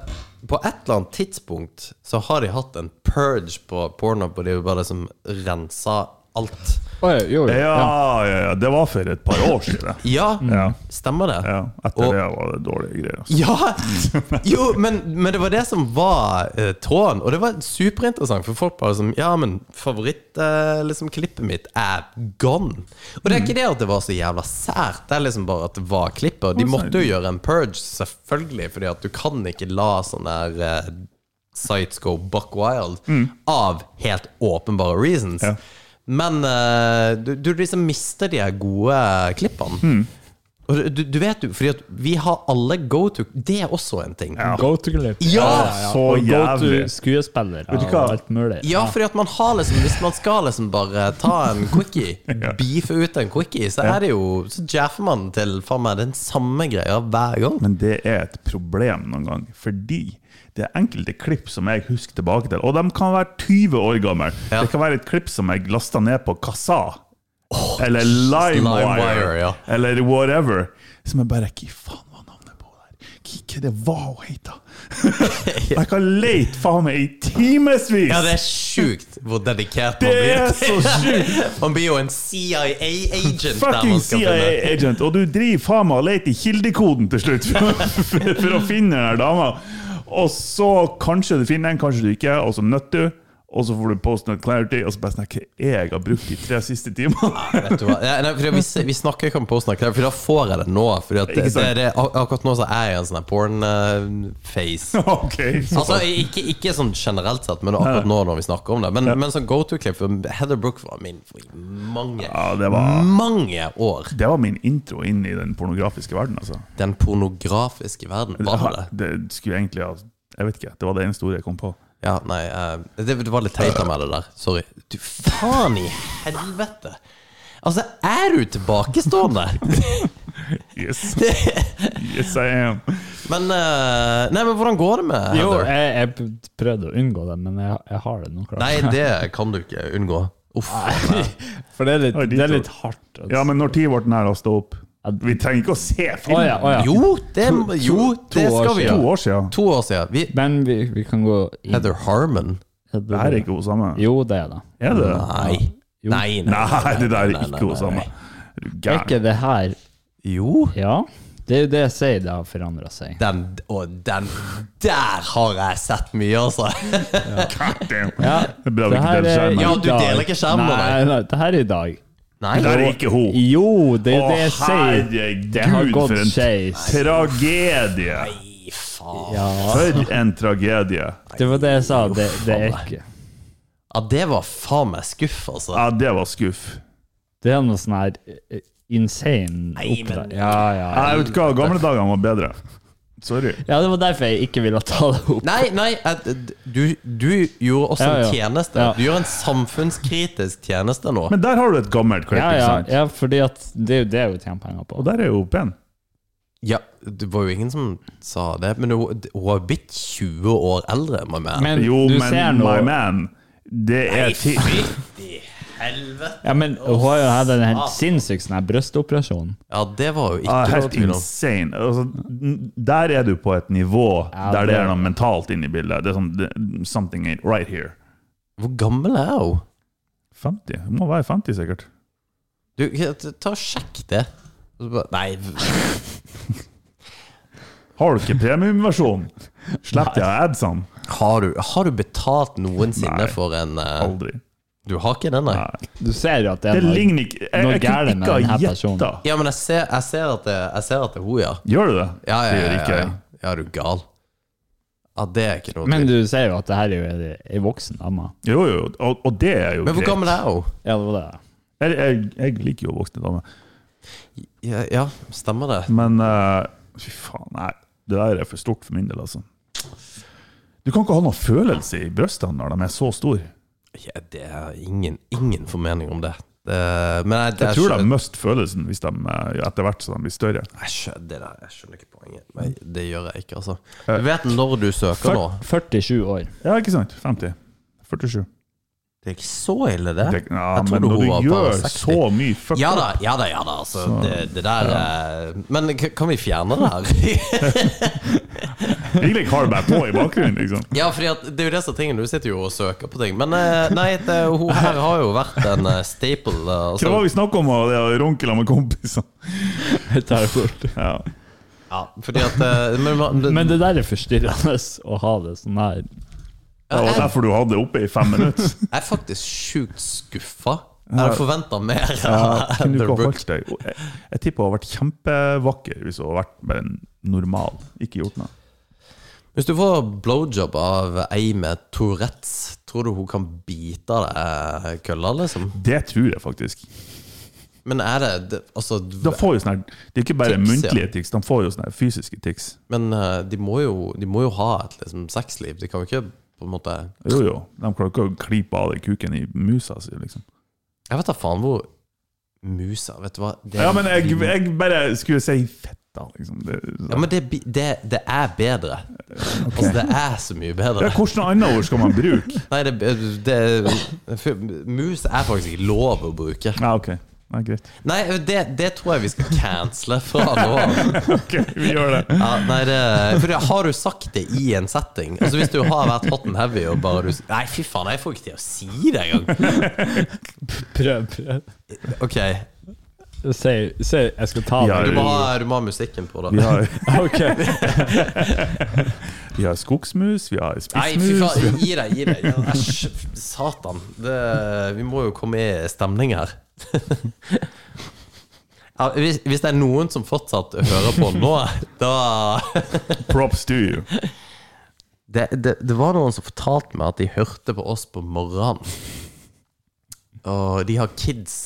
S4: På et eller annet tidspunkt så har de hatt en purge på porno, hvor de bare liksom rensa alt.
S2: Oi, jo, jo,
S3: Ja, ja, ja, det var for et par år siden.
S4: Ja,
S3: Ja.
S4: stemmer det?
S3: Ja, etter
S4: Og-
S3: det var det dårlige greier. Altså.
S4: Ja! Jo, men, men det var det som var eh, tråden, og det var superinteressant. For folk bare som Ja, men favorittklippet eh, liksom, klippet mitt er gone. Og det er ikke det at det var så jævla sært, det er liksom bare at det var klippet. Og de måtte jo gjøre en purge, selvfølgelig, fordi at du kan ikke la sånn her eh, sites go buck wild av helt åpenbare reasons.
S3: Mm. Ja.
S4: Men eh, du, du liksom mister de her gode klippene.
S3: Mm.
S4: Og du- du, du vet jo, fordi at vi har alle go to Det er også en ting. Ja,
S2: Go to clip.
S3: så
S2: Og Go
S3: jævlig.
S2: to skuespiller
S3: du
S2: og
S3: hva?
S2: alt mulig.
S4: fordi at man har liksom Hvis man skal liksom bare ta en quickie, beefe ut en quickie, så er det jo Så jaffer man til faen meg den samme greia hver gang.
S3: Men det er et problem noen gang, fordi det er enkelte klipp som jeg husker tilbake til, og de kan være 20 år gamle.
S4: Ja.
S3: Det kan være et klipp som jeg lasta ned på Kassa, eller LimeWire,
S4: LimeWire, ja.
S3: eller whatever, som jeg bare Hva faen var navnet på der? Hva- Hva det var hun het, da? Jeg kan lete faen meg i timevis!
S4: Ja, det er sjukt hvor dedikert man
S3: det er
S4: blir.
S3: så sjukt!
S4: Man blir jo en CIA-agent der
S3: Fucking
S4: man skal finne
S3: CIA-agent, og du driver faen meg og leter i kildekoden til slutt for, for, for å finne den her dama. Og så kanskje du finner den, kanskje du ikke, og så nøtter du. Og så får du post not clarity, og så bare sånn Hva er jeg har brukt de tre siste timene?
S4: Vet du hva? Ja, nei, fordi vi, vi snakker ikke om postsnakk, for da får jeg det nå. Fordi at det,
S3: Ikke sant?
S4: det, er det, ak- akkurat nå så er jeg i en sånn her porn-face.
S3: ok, så
S4: Altså, ikke, ikke sånn generelt sett, men akkurat nå når vi snakker om det. Men, men sånn go to-klipp Heather Brook var min for mange,
S3: Ja, det var-
S4: mange år.
S3: Det var min intro inn i den pornografiske verden, altså.
S4: Den pornografiske verden. Var det det?
S3: Det skulle egentlig ha Jeg vet ikke. Det var det eneste ordet jeg kom på.
S4: Ja, nei eh, det, det var litt teit av meg, det der. Sorry. Du faen i helvete! Altså, er du tilbakestående?
S3: Yes. Yes, I am.
S4: Men eh, Nei, men hvordan går det med
S2: Jo,
S4: Heather?
S2: jeg, jeg prøvde å unngå det, men jeg, jeg har det nå klart.
S4: Nei, det kan du ikke unngå. Uff.
S2: For det er litt,
S3: Oi, de
S2: det er
S3: to.
S2: litt hardt. altså.
S3: Ja, men når tid ble den her lasta opp? Vi trenger ikke å se
S2: Å
S3: filmen!
S2: ja, å ja.
S4: Jo, det,
S2: To-
S4: jo,
S2: to-
S4: det
S2: to
S4: skal
S2: år
S4: vi
S3: To
S2: siden.
S4: gjøre.
S3: år siden.
S4: To år siden. Vi,
S2: Men vi, vi kan gå inn.
S4: Heather Harmon?
S2: Heather-
S3: Det her er ikke hun samme.
S2: Jo, det er det.
S3: Er det det?
S4: Nei.
S2: Jo.
S4: Nei, nei.
S3: Nei, det der er
S4: nei,
S3: ikke
S4: nei,
S3: hun samme. Er du
S2: Er ikke
S3: gæren?
S2: det her
S4: Jo.
S2: Ja, det er jo det jeg sier, det har forandra seg.
S4: Den, og den der har jeg sett mye, altså.
S3: Damn.
S2: Ja, eh,
S3: Det er bra vi ikke deler skjermen.
S4: Ja, du
S2: i dag.
S4: deler ikke skjermen,
S2: Nei,
S4: nei.
S2: nei, det her er i dag.
S4: Nei.
S3: Det der er ikke hun.
S2: Jo, det er
S3: Å,
S2: jo det jeg sier. Det har
S3: herregud,
S2: gått
S3: for en
S2: skeis.
S3: tragedie!
S4: Nei, faen.
S2: Ja,
S3: For en tragedie.
S2: det var det jeg sa. Det, det er ikke
S4: Ja, det var faen meg skuff, altså.
S3: Ja, det var skuff.
S2: Det er noe sånn her eh, insane
S4: Nei, men-
S2: oppdrag. Ja, ja, ja.
S3: Jeg vet ikke hva, gamle dager var bedre. Sorry.
S2: ja, det var derfor jeg ikke ville ta det opp.
S4: Nei, nei, at- du, du gjorde også
S2: Ja, ja.
S4: en tjeneste.
S2: Ja.
S4: Du gjør en samfunnskritisk tjeneste nå.
S3: Men der har du et gammelt klipp,
S2: Ja, ja,
S3: ikke sant?
S2: ja, fordi at det er jo det jeg vil tjene penger på.
S3: Og der er jo pen.
S4: Ja, det var jo ingen som sa det, men hun hun har blitt 20 år eldre, my man.
S2: Men
S3: Jo,
S2: du
S3: men
S2: ser nå
S3: my man, det er ti...
S4: Helvete!
S2: Ja, men hun har jo hatt en helt sinnssyk sånn her brøstoperasjon.
S4: Ja, det var jo ikke
S3: Ah,
S4: noe
S3: helt
S4: tvil om.
S3: insane. Altså, n- der er du på et nivå
S2: Ja,
S3: der det
S2: det-
S3: er noe mentalt inne i bildet. Det er sånn det- Something ain't right here.
S4: Hvor gammel er hun?
S3: 50? Hun må være 50, sikkert.
S4: Du, ta og sjekk det. Og så bare- Nei,
S3: Har du ikke premiumversjon? Slipp de sånn. adsene?
S4: har du, har du betalt noensinne
S3: Nei.
S4: for en eh,
S3: Aldri.
S4: Du har ikke den, nei?
S2: Du ser jo at det
S3: Det
S2: er noe
S3: ligner ikke Jeg,
S2: noe
S3: jeg kunne
S2: gærent med
S3: ikke ha
S2: denne personen.
S3: gjetta.
S4: Ja, men jeg ser, jeg ser at det Jeg ser at det er hun, ja.
S3: Gjør du det?
S4: Ja, ja,
S3: Det
S4: ja,
S3: gjør
S4: ja,
S3: ikke
S4: ja.
S3: jeg.
S4: ja er du gal? Ja, det er ikke noe
S2: Men
S4: tvil.
S2: du ser jo at det her er jo ei voksen dame.
S3: Jo, jo, og, og det er jo
S4: Men hvor
S3: greit.
S4: gammel er hun?
S2: Ja, det var det.
S3: Jeg, jeg, jeg liker jo voksne damer,
S4: Ja, ja, stemmer det.
S3: men eh, fy faen, nei. Det der er for stort for min del, altså. Du kan ikke ha noen følelse i brystene når de er så store.
S4: Ja, det er ingen, ingen formening om det. det men jeg, det,
S3: Jeg tror de mister følelsen hvis de, eh, ja, etter hvert så de blir større.
S4: jeg, skjønner, det der, jeg skjønner ikke poenget. Nei, det gjør jeg ikke, altså.
S3: Eh,
S4: Du vet når du søker nå.
S2: 47 år.
S3: Ja, ikke sant? 50. 47.
S4: Det er ikke så ille, det.
S3: Tenk, Ja,
S4: Jeg
S3: men
S4: trodde
S3: når
S4: hun
S3: du
S4: var bare
S3: gjør
S4: 60.
S3: så mye fuck
S4: Ja
S3: up,
S4: da, ja da, ja da. Altså, det, det der er Men k- kan vi fjerne det her?
S3: Egentlig har du bare på i bakgrunnen, liksom.
S4: ja, fordi at det er jo det som er tingen. Du sitter jo og søker på ting. Men eh, nei, det, hun her har jo vært en eh, staple. eh,
S3: Hva
S4: Altså,
S3: var vi snakket om, og det å runkele med kompisene?
S2: Jeg tar det bort.
S3: Ja.
S4: ja, fordi at eh, men, man-
S2: Men det der er forstyrrende å ha det sånn her.
S3: Det var derfor du hadde det oppe i fem minutter.
S4: Jeg er faktisk sjukt skuffa. Jeg hadde forventa mer. av
S3: Kunne du
S4: The
S3: ikke ha
S4: Rook.
S3: holdt deg? Jeg, jeg tipper hun har vært kjempevakker hvis hun har vært bare en normal. Ikke gjort noe.
S4: Hvis du får blowjob av ei med Tourettes, tror du hun kan bite av deg kølla, liksom?
S3: Det tror jeg faktisk.
S4: Men er det, det Altså
S3: De får jo sånne, her- det er ikke bare
S4: Tics, ja.
S3: muntlige tics, de får jo sånne her fysiske tics.
S4: Men eh, de må jo, de må jo ha et liksom, sexliv. De kan jo ikke på en måte
S3: Jo, jo. De klarer ikke å klype av deg kuken i musa si, liksom.
S4: Jeg vet da faen hvor musa Vet du hva? Det er-
S3: Ja, men jeg, jeg bare skulle si fetta, liksom. Det,
S4: Ja, men det, bi- det, det er bedre. Altså, det er så mye
S3: ja,
S4: bedre.
S3: hvordan annet ord skal man bruke?
S4: Nei, det, det Mus er faktisk ikke lov å bruke.
S3: Ja, ok. Ja, greit.
S4: Nei, det, det tror jeg vi skal cancele fra nå av.
S3: Ok, vi gjør det.
S4: Ja, nei, det, for det, har du sagt det i en setting? Altså Hvis du har vært hot and heavy og bare du Nei, fy faen, jeg får ikke til å si det engang.
S2: Prøv, prøv.
S4: Ok,
S2: Si, si jeg skal ta
S3: Ja,
S4: du
S2: det.
S4: må ha, du må ha musikken på,
S3: Vi
S4: da.
S3: har,
S2: Ok.
S3: vi har skogsmus, vi har
S4: Nei, fy
S3: spissmus vi
S4: faen,
S3: har-
S4: gi deg, gi deg. Ja, Æsj, satan. Det, vi må jo komme i stemning her. Ja, hvis, hvis det er noen som fortsatt hører på nå, da
S3: Props to you.
S4: det, det, det var noen som fortalte meg at de hørte på oss på morgenen. Og de har kids.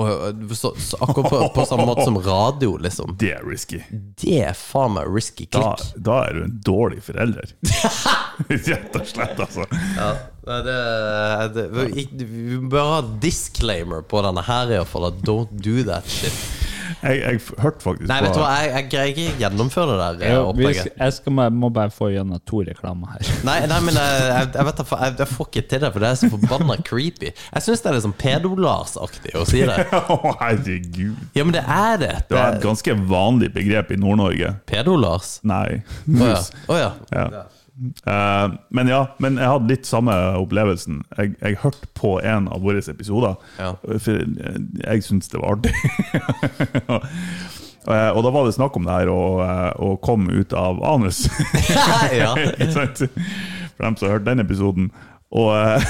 S4: Og, og så, så akkurat på, på samme måte som radio, liksom.
S3: Det er risky.
S4: Det er faen meg risky
S3: da,
S4: klikk.
S3: da er du en dårlig forelder. Rett og slett, altså.
S4: Nei, Det, det, vi, vi bør ha disclaimer på denne her, iallfall. Don't do that shit.
S3: Jeg, jeg f- hørte faktisk
S4: Nei,
S3: på
S4: vet du hva, jeg, jeg greier ikke gjennomføre det der eh,
S2: Jo, vi skal,
S4: opplegget.
S2: jeg skal, bare- må bare få gjennom to reklamer her.
S4: Nei, nei, men jeg, jeg, jeg vet da fa- jeg, jeg får ikke til det, for det er så forbanna creepy. Jeg syns det er litt sånn pedo-Lars-aktig å si det.
S3: Å, herregud.
S4: Ja, men det er det.
S3: Det
S4: det
S3: var et ganske vanlig begrep i Nord-Norge.
S4: Pedo-Lars?
S3: Nei,
S4: Å ja.
S3: mus.
S4: Å ja.
S3: Ja. Eh, men ja, men jeg hadde litt samme opplevelsen. Jeg, jeg hørte på en av våre episoder,
S4: Ja.
S3: for jeg, jeg syntes det var artig. Og, eh, og da var det snakk om det her å, eh, å komme ut av anus.
S4: ja.
S3: Ikke sant? For dem som har hørt den episoden. Og eh,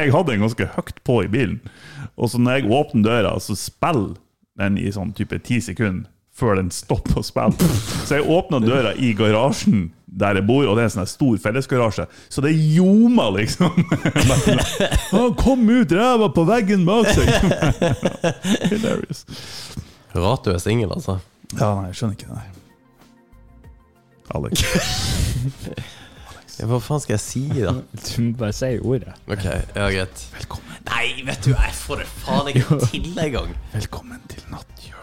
S3: jeg hadde en ganske høyt på i bilen. Og så når jeg åpner døra, så spiller den i sånn type ti sekunder før den stopper å spille. Så jeg åpna døra i garasjen der jeg bor, og det er en sånn her stor fellesgarasje. Så det ljomer, liksom. Bare sånn, «Å, kom ut, ræva på veggen bak seg! Hilarious.
S4: Rart du er singel, altså.
S3: Ja, nei, jeg skjønner ikke det der. Alex.
S4: Ja, Hva faen skal jeg si, da?
S2: Du må bare si ordet.
S4: Ok, ja, greit.
S3: Velkommen,
S4: Nei, vet du, jeg får det faen ikke til engang.
S3: velkommen til Natthjørnet.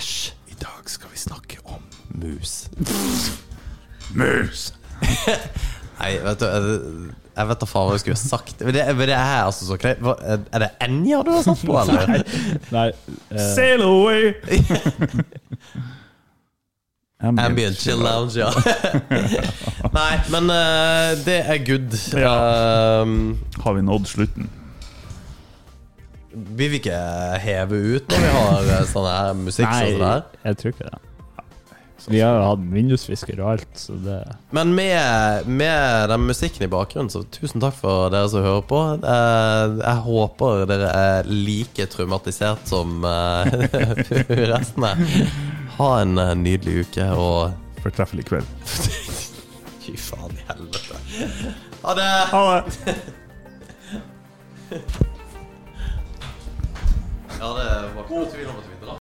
S4: Æsj.
S3: I dag skal vi snakke om
S4: Mus.
S3: mus.
S4: Nei, vet du Jeg, jeg vet da faen hva jeg skulle sagt. Men det, men det er altså så knep. Hva- Er det Enja du har satt på, eller?
S2: Nei eh,
S3: Sail away!
S4: Ambient Chill Lounge, ja. Nei, men eh, det er good. Um,
S3: Har vi nådd slutten?
S4: vi vil ikke heve ut når vi har eh, sånn her musikk
S2: Nei,
S4: sånn som det her.
S2: jeg tror ikke det. Vi har jo hatt vindusvisker og alt, så det
S4: Men med, med den musikken i bakgrunnen, så tusen takk for dere som hører på. Eh, Jeg håper dere er like traumatisert som eh, resten her. Ha en eh, nydelig uke, og
S3: Fortreffelig kveld.
S4: fy faen i helvete. Ha det!
S3: Ha det!
S4: Ja, det var ikke noe tvil om at vi drar.